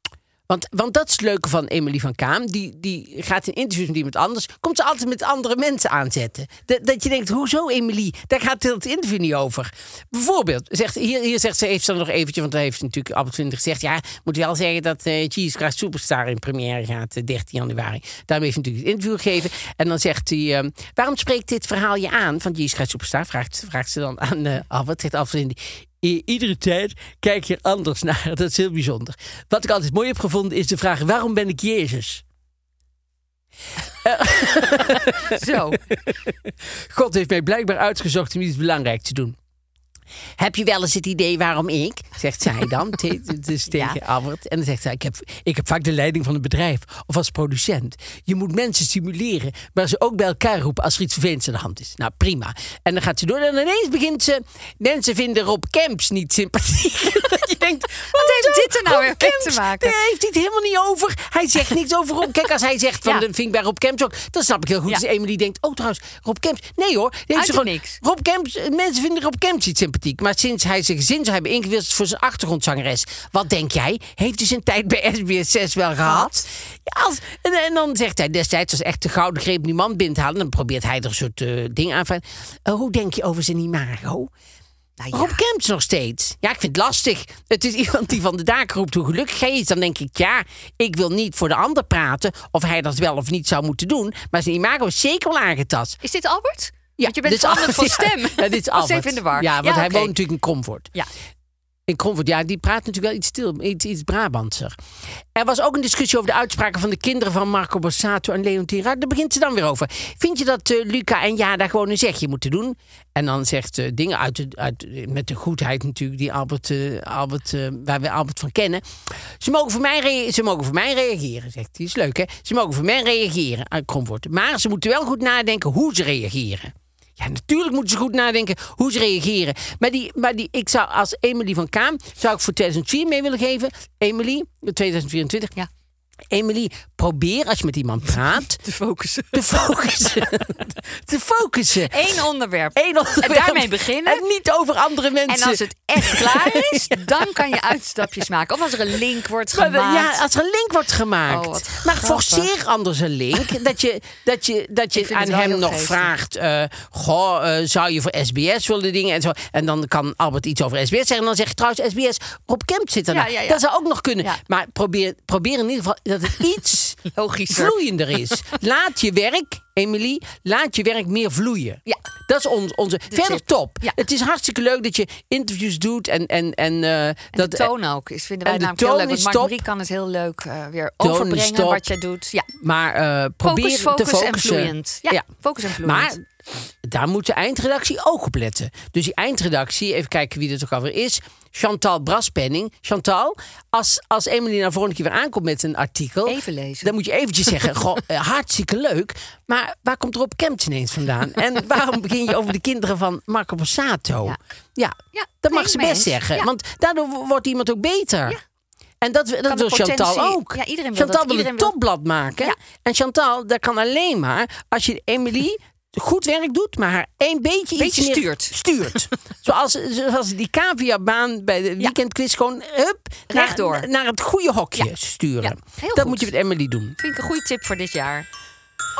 [SPEAKER 2] want, want dat is het leuke van Emily van Kaam. Die, die gaat in interviews met iemand anders. Komt ze altijd met andere mensen aanzetten. Dat, dat je denkt, hoezo Emily? Daar gaat het interview niet over. Bijvoorbeeld, zegt, hier, hier zegt ze, heeft ze dan nog eventjes... want daar heeft ze natuurlijk Albert Vinter gezegd... ja, moet wel zeggen dat eh Jesus Christ Superstar in première gaat eh, 13 januari. Daarmee heeft ze natuurlijk het interview gegeven. En dan zegt hij, ehm, waarom spreekt dit verhaal je aan? Van Jesus Christ Superstar vraagt, vraagt ze dan aan eh Albert. Zegt Albert Vinter, I- iedere tijd kijk je er anders naar. Dat is heel bijzonder. Wat ik altijd mooi heb gevonden is de vraag: waarom ben ik Jezus?
[SPEAKER 3] Zo.
[SPEAKER 2] God heeft mij blijkbaar uitgezocht om iets belangrijk te doen. Heb je wel eens het idee waarom ik? Zegt zij dan. te- te- dus tegen Albert. En dan zegt zij: ik heb, ik heb vaak de leiding van een bedrijf of als producent. Je moet mensen stimuleren, maar ze ook bij elkaar roepen als er iets vervelends aan de hand is. Nou, prima. En dan gaat ze door en ineens begint ze. Mensen vinden Rob Camps niet sympathiek. Dat je denkt:
[SPEAKER 3] Wat heeft dit er nou
[SPEAKER 2] Rob
[SPEAKER 3] weer mee te
[SPEAKER 2] Camps,
[SPEAKER 3] maken?
[SPEAKER 2] Daar heeft hij het helemaal niet over. Hij zegt niks over Rob. Kijk, als hij zegt van
[SPEAKER 3] Ja.
[SPEAKER 2] de vind ik bij Rob Camps ook, dan snap ik heel goed.
[SPEAKER 3] Ja.
[SPEAKER 2] Dus Emily denkt, oh trouwens, Rob Camps. Nee hoor, die
[SPEAKER 3] Uit
[SPEAKER 2] heeft ze
[SPEAKER 3] het
[SPEAKER 2] gewoon
[SPEAKER 3] niks.
[SPEAKER 2] Rob Camps, eh, mensen vinden Rob Camps niet sympathiek. Maar sinds hij zijn gezin zou hebben ingewisseld voor zijn achtergrondzangeres. Wat denk jij? Heeft hij zijn tijd bij SBS 6 wel gehad? Ja, als- en, en dan zegt hij destijds als echt de gouden greep niemand bindt halen. Dan probeert hij er een soort eh, ding aan. van, eh, hoe denk je over zijn imago?
[SPEAKER 3] Nou ja.
[SPEAKER 2] Rob Camps nog steeds. Ja, ik vind het lastig. Het is iemand die van de daken roept hoe gelukkig hij is. Dan denk ik, ja, ik wil niet voor de ander praten... of hij dat wel of niet zou moeten doen. Maar zijn imago is zeker wel aangetast.
[SPEAKER 3] Is dit Albert?
[SPEAKER 2] Ja,
[SPEAKER 3] Want je bent
[SPEAKER 2] dit is
[SPEAKER 3] veranderd
[SPEAKER 2] Albert,
[SPEAKER 3] van stem.
[SPEAKER 2] Ja, Ja, dit is
[SPEAKER 3] Ik was
[SPEAKER 2] Albert.
[SPEAKER 3] even in de war.
[SPEAKER 2] Ja, want hij
[SPEAKER 3] oké.
[SPEAKER 2] woont natuurlijk in Comfort.
[SPEAKER 3] Ja.
[SPEAKER 2] In Comfort, ja, die praat natuurlijk wel iets stil, iets, iets Brabantser. Er was ook een discussie over de uitspraken van de kinderen van Marco Borsato en Leon Tira. Daar begint ze dan weer over. Vind je dat eh, Luca en Jada gewoon een zegje moeten doen? En dan zegt eh, dingen uit, de- uit, met de goedheid natuurlijk die Albert, eh, Albert, eh, waar we Albert van kennen. Ze mogen voor mij, rea- ze mogen voor mij reageren, zegt hij. Is leuk, hè? Ze mogen voor mij reageren uit Comfort. Maar ze moeten wel goed nadenken hoe ze reageren. Ja, natuurlijk moeten ze goed nadenken hoe ze reageren. Maar, die, maar die, ik zou als Emily van Kaam, zou ik voor 2004 mee willen geven. Emily, 2024.
[SPEAKER 3] Ja.
[SPEAKER 2] Emily, probeer als je met iemand praat
[SPEAKER 3] Te focussen.
[SPEAKER 2] te focussen. te focussen.
[SPEAKER 3] Eén onderwerp.
[SPEAKER 2] Eén onderwerp.
[SPEAKER 3] En daarmee beginnen.
[SPEAKER 2] En niet over andere mensen.
[SPEAKER 3] En als het echt klaar is, dan kan je uitstapjes maken. Of als er een link wordt
[SPEAKER 2] Maar we-
[SPEAKER 3] gemaakt.
[SPEAKER 2] Ja, als er een link wordt gemaakt.
[SPEAKER 3] Oh, wat
[SPEAKER 2] maar
[SPEAKER 3] grappig.
[SPEAKER 2] forceer anders een link. Dat je, dat je, dat
[SPEAKER 3] Ik
[SPEAKER 2] je
[SPEAKER 3] vind
[SPEAKER 2] aan
[SPEAKER 3] het wel
[SPEAKER 2] hem
[SPEAKER 3] heel
[SPEAKER 2] nog
[SPEAKER 3] geestig.
[SPEAKER 2] vraagt... eh, goh, eh, zou je voor SBS willen dingen? En, zo. en dan kan Albert iets over SBS zeggen. En dan zeg je trouwens SBS, Rob Kemp zit er. nou.
[SPEAKER 3] Ja, ja, ja.
[SPEAKER 2] Dat zou ook nog kunnen.
[SPEAKER 3] Ja.
[SPEAKER 2] Maar probeer, probeer in ieder geval dat het iets
[SPEAKER 3] Logischer.
[SPEAKER 2] vloeiender is. Laat je werk, Emily, laat je werk meer vloeien.
[SPEAKER 3] Ja.
[SPEAKER 2] Dat is ons, onze... Verder
[SPEAKER 3] tip.
[SPEAKER 2] top.
[SPEAKER 3] Ja.
[SPEAKER 2] Het is hartstikke leuk dat je interviews doet. En, en, en, eh,
[SPEAKER 3] En
[SPEAKER 2] dat,
[SPEAKER 3] de toon ook. is vinden wij
[SPEAKER 2] en de
[SPEAKER 3] namelijk heel
[SPEAKER 2] toon
[SPEAKER 3] leuk. Want
[SPEAKER 2] is
[SPEAKER 3] Mark
[SPEAKER 2] top.
[SPEAKER 3] Marie kan het heel leuk eh, weer
[SPEAKER 2] Toon is
[SPEAKER 3] overbrengen
[SPEAKER 2] top.
[SPEAKER 3] wat je doet. Ja.
[SPEAKER 2] Maar eh, probeer
[SPEAKER 3] Focus, focus
[SPEAKER 2] te
[SPEAKER 3] en
[SPEAKER 2] focussen.
[SPEAKER 3] vloeiend. Ja, focus en vloeiend.
[SPEAKER 2] Maar daar moet de eindredactie ook op letten. Dus die eindredactie, even kijken wie dat ook alweer is. Chantal Braspenning. Chantal, als, als Emily nou volgende keer weer aankomt met een artikel...
[SPEAKER 3] Even lezen.
[SPEAKER 2] Dan moet je eventjes zeggen, goh, eh, hartstikke leuk. Maar waar komt Rob Kempt ineens vandaan? En waarom begin je over de kinderen van Marco Borsato? Ja,
[SPEAKER 3] Ja. Ja,
[SPEAKER 2] dat
[SPEAKER 3] nee,
[SPEAKER 2] mag ze
[SPEAKER 3] mee
[SPEAKER 2] best
[SPEAKER 3] eens.
[SPEAKER 2] zeggen.
[SPEAKER 3] Ja.
[SPEAKER 2] Want daardoor wo- wordt iemand ook beter.
[SPEAKER 3] Ja.
[SPEAKER 2] En dat, dat
[SPEAKER 3] de
[SPEAKER 2] wil Chantal
[SPEAKER 3] potentie-
[SPEAKER 2] ook.
[SPEAKER 3] Ja, iedereen wil
[SPEAKER 2] Chantal
[SPEAKER 3] dat.
[SPEAKER 2] wil
[SPEAKER 3] Iedereen
[SPEAKER 2] een
[SPEAKER 3] wil-
[SPEAKER 2] topblad maken.
[SPEAKER 3] Ja.
[SPEAKER 2] En Chantal, dat kan alleen maar als je Emily goed werk doet, maar haar een beetje, iets
[SPEAKER 3] Beetje
[SPEAKER 2] meer
[SPEAKER 3] stuurt.
[SPEAKER 2] stuurt. zoals, zoals die caviarbaan bij de weekendquiz gewoon hup, naar-
[SPEAKER 3] Rechtdoor.
[SPEAKER 2] Naar, het goede hokje sturen.
[SPEAKER 3] Ja, heel
[SPEAKER 2] dat
[SPEAKER 3] goed.
[SPEAKER 2] moet je met Emily doen.
[SPEAKER 3] Vind ik een goede tip voor dit jaar.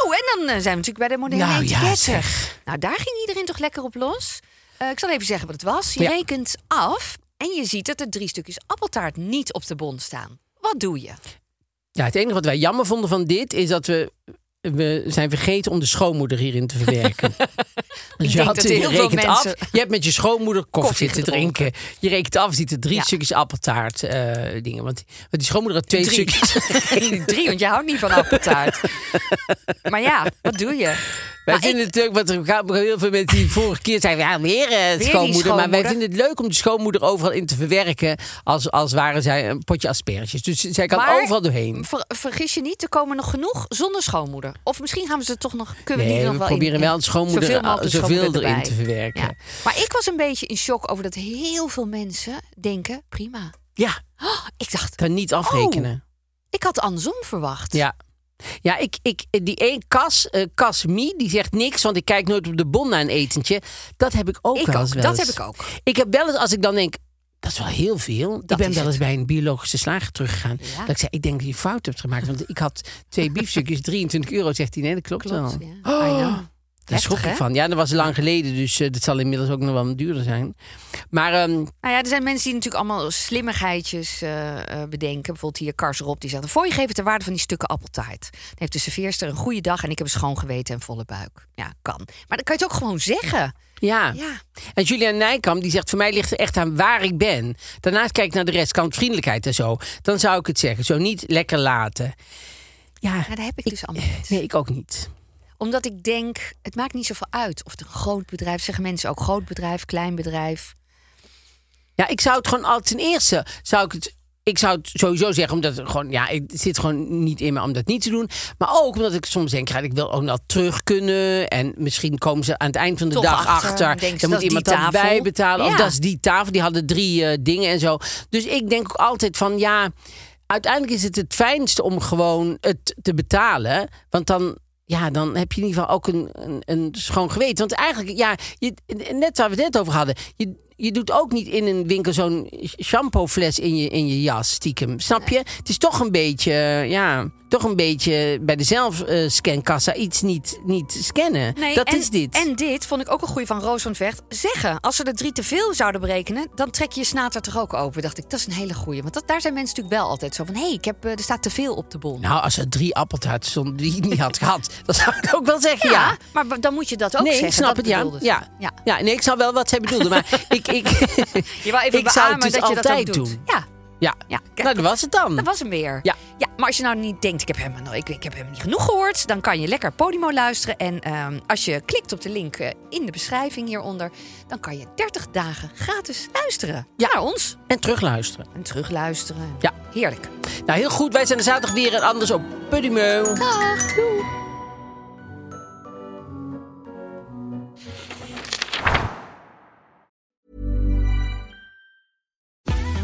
[SPEAKER 3] Oh, en dan eh, zijn we natuurlijk bij de moderne
[SPEAKER 2] Nou ja,
[SPEAKER 3] etiketten.
[SPEAKER 2] zeg.
[SPEAKER 3] Nou, daar ging iedereen toch lekker op los. Eh, ik zal even zeggen wat het was. Je
[SPEAKER 2] Ja.
[SPEAKER 3] rekent af en je ziet dat er drie stukjes appeltaart niet op de bon staan. Wat doe je?
[SPEAKER 2] Ja, het enige wat wij jammer vonden van dit is dat we. We zijn vergeten om de schoonmoeder hierin te verwerken. Dus je,
[SPEAKER 3] denk
[SPEAKER 2] had,
[SPEAKER 3] dat
[SPEAKER 2] je
[SPEAKER 3] heel veel
[SPEAKER 2] rekent
[SPEAKER 3] mensen-
[SPEAKER 2] af. Je hebt met je schoonmoeder koffie,
[SPEAKER 3] Koffie
[SPEAKER 2] zitten
[SPEAKER 3] gedronken.
[SPEAKER 2] drinken. Je rekent af, ziet er drie
[SPEAKER 3] Ja.
[SPEAKER 2] stukjes appeltaart eh, dingen. Want, want die schoonmoeder had twee
[SPEAKER 3] Drie.
[SPEAKER 2] stukjes.
[SPEAKER 3] drie, want je houdt niet van appeltaart. maar ja, wat doe je?
[SPEAKER 2] Wij
[SPEAKER 3] Maar
[SPEAKER 2] vinden
[SPEAKER 3] ik-
[SPEAKER 2] het leuk, want er gaan heel veel mensen die vorige keer zeiden... ja, weer, eh, schoonmoeder.
[SPEAKER 3] die
[SPEAKER 2] Maar wij
[SPEAKER 3] schoonmoeder.
[SPEAKER 2] vinden het leuk om de schoonmoeder overal in te verwerken... als, als waren zij een potje asperges. Dus zij kan
[SPEAKER 3] Maar-
[SPEAKER 2] overal doorheen.
[SPEAKER 3] Ver- vergis je niet, er komen nog genoeg zonder schoonmoeder. Of misschien gaan we ze toch nog. Kunnen
[SPEAKER 2] Nee,
[SPEAKER 3] we die er
[SPEAKER 2] we
[SPEAKER 3] nog wel
[SPEAKER 2] proberen
[SPEAKER 3] in,
[SPEAKER 2] wel een schoonmoeder- eh,
[SPEAKER 3] zoveel mogelijk
[SPEAKER 2] zoveel
[SPEAKER 3] schoonmoeder
[SPEAKER 2] erin
[SPEAKER 3] erbij.
[SPEAKER 2] te verwerken.
[SPEAKER 3] Ja. Maar ik was een beetje in shock over dat heel veel mensen denken: prima.
[SPEAKER 2] Ja,
[SPEAKER 3] Oh, ik dacht,
[SPEAKER 2] kan niet afrekenen.
[SPEAKER 3] Oh. ik had andersom verwacht.
[SPEAKER 2] Ja. Ja, ik, ik, die één kas, eh Kasmi, die zegt niks, want ik kijk nooit op de bon naar een etentje. Dat heb ik ook
[SPEAKER 3] Ik
[SPEAKER 2] wel
[SPEAKER 3] ook,
[SPEAKER 2] eens. wel
[SPEAKER 3] dat
[SPEAKER 2] eens.
[SPEAKER 3] heb ik ook.
[SPEAKER 2] Ik heb wel eens, als ik dan denk, dat is wel heel veel.
[SPEAKER 3] Dat
[SPEAKER 2] ik ben
[SPEAKER 3] is
[SPEAKER 2] wel eens
[SPEAKER 3] het.
[SPEAKER 2] bij een biologische slager teruggegaan. Dat ik zei, ik denk dat je fout hebt gemaakt, want ik had twee biefstukjes, 23 euro, zegt hij. Nee, dat klopt,
[SPEAKER 3] Klopt.
[SPEAKER 2] wel.
[SPEAKER 3] Ja. I know.
[SPEAKER 2] Oh, Daar schrok
[SPEAKER 3] Heftig,
[SPEAKER 2] ik
[SPEAKER 3] hè?
[SPEAKER 2] van. Ja, dat was lang geleden, dus eh, dat zal inmiddels ook nog wel wat duurder zijn. Maar ehm,
[SPEAKER 3] Nou ja, er zijn mensen die natuurlijk allemaal slimmigheidjes eh, eh, bedenken. Bijvoorbeeld hier Kars Rob, die zegt... Voor je geeft de waarde van die stukken appeltaart. Dan heeft de serveerster een goede dag en ik heb een schoon geweten en volle buik. Ja, kan. Maar dan kan je het ook gewoon zeggen.
[SPEAKER 2] ja.
[SPEAKER 3] Ja.
[SPEAKER 2] En Julian Nijkamp die zegt: Voor mij ligt het echt aan waar ik ben. Daarnaast kijk ik naar de rest, kant vriendelijkheid en zo. Dan zou ik het zeggen. Zo niet lekker laten. Ja,
[SPEAKER 3] Ja, dat heb ik dus allemaal niet.
[SPEAKER 2] nee, ik ook niet.
[SPEAKER 3] Omdat ik denk, het maakt niet zoveel uit of het een groot bedrijf... Zeggen mensen ook groot bedrijf, klein bedrijf.
[SPEAKER 2] Ja, ik zou het gewoon al ten eerste zou ik het. Ik zou het sowieso zeggen, omdat het gewoon, ja, het zit gewoon niet in me om dat niet te doen. Maar ook omdat ik soms denk, ja, ik wil ook nog terug kunnen. En misschien komen ze aan het eind van de
[SPEAKER 3] Toch
[SPEAKER 2] dag
[SPEAKER 3] achter,
[SPEAKER 2] achter.
[SPEAKER 3] denken ze,
[SPEAKER 2] dan
[SPEAKER 3] dat
[SPEAKER 2] moet
[SPEAKER 3] is die
[SPEAKER 2] iemand dat
[SPEAKER 3] tafel.
[SPEAKER 2] bijbetalen. Of
[SPEAKER 3] Ja.
[SPEAKER 2] dat is die tafel, die hadden drie eh, dingen en zo. Dus ik denk ook altijd van, ja, uiteindelijk is het het fijnste om gewoon het te betalen. Want dan, ja, dan heb je in ieder geval ook een, een, een schoon geweten. Want eigenlijk, ja, je, net waar we het net over hadden. Je, je doet ook niet in een winkel zo'n shampoofles in je, in je jas, stiekem. Snap je? Het is toch een beetje, ja, toch een beetje bij de zelfscankassa iets niet, niet scannen. dat
[SPEAKER 3] en,
[SPEAKER 2] is dit.
[SPEAKER 3] En dit vond ik ook een goeie van Roos van Vecht. Zeggen, als ze er drie te veel zouden berekenen... dan trek je je snater toch ook open. Dacht ik, dat is een hele goeie. Want dat, daar zijn mensen natuurlijk wel altijd zo van... hé, hey, ik heb, eh, er staat te veel op de bon.
[SPEAKER 2] Nou, als er drie appeltaarten stonden die ik niet had gehad, dan zou ik ook wel zeggen
[SPEAKER 3] Ja,
[SPEAKER 2] ja.
[SPEAKER 3] maar w- dan moet je dat ook
[SPEAKER 2] nee,
[SPEAKER 3] zeggen.
[SPEAKER 2] ik snap
[SPEAKER 3] dat
[SPEAKER 2] het, ja.
[SPEAKER 3] bedoelde ze.
[SPEAKER 2] ja.
[SPEAKER 3] ja.
[SPEAKER 2] Ja. nee, ik snap wel wat zij bedoelde, maar ik, ik,
[SPEAKER 3] Je wou even
[SPEAKER 2] ik zou het
[SPEAKER 3] beamen
[SPEAKER 2] dus
[SPEAKER 3] dat je dat ook
[SPEAKER 2] altijd
[SPEAKER 3] doet.
[SPEAKER 2] doen.
[SPEAKER 3] Ja,
[SPEAKER 2] Ja,
[SPEAKER 3] Ja, kijk.
[SPEAKER 2] nou, dat was het dan.
[SPEAKER 3] dat was hem weer.
[SPEAKER 2] Ja.
[SPEAKER 3] ja. Maar als je nou niet denkt, ik heb helemaal, nooit- ik, ik heb helemaal niet genoeg gehoord... dan kan je lekker Podimo luisteren. En ehm, als je klikt op de link eh, in de beschrijving hieronder... dan kan je 30 dagen gratis luisteren
[SPEAKER 2] Ja.
[SPEAKER 3] naar ons.
[SPEAKER 2] En terugluisteren.
[SPEAKER 3] En terugluisteren.
[SPEAKER 2] Ja.
[SPEAKER 3] Heerlijk.
[SPEAKER 2] Nou, heel goed. Wij zijn er zaterdag weer en anders op Pudimeu.
[SPEAKER 3] Dag. Doei.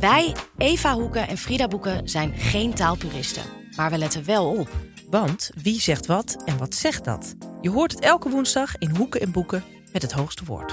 [SPEAKER 6] Wij, Eva Hoeken en Frida Boeken, zijn geen taalpuristen. Maar we letten wel op.
[SPEAKER 7] Want wie zegt wat en wat zegt dat? Je hoort het elke woensdag in Hoeken en Boeken met het hoogste woord.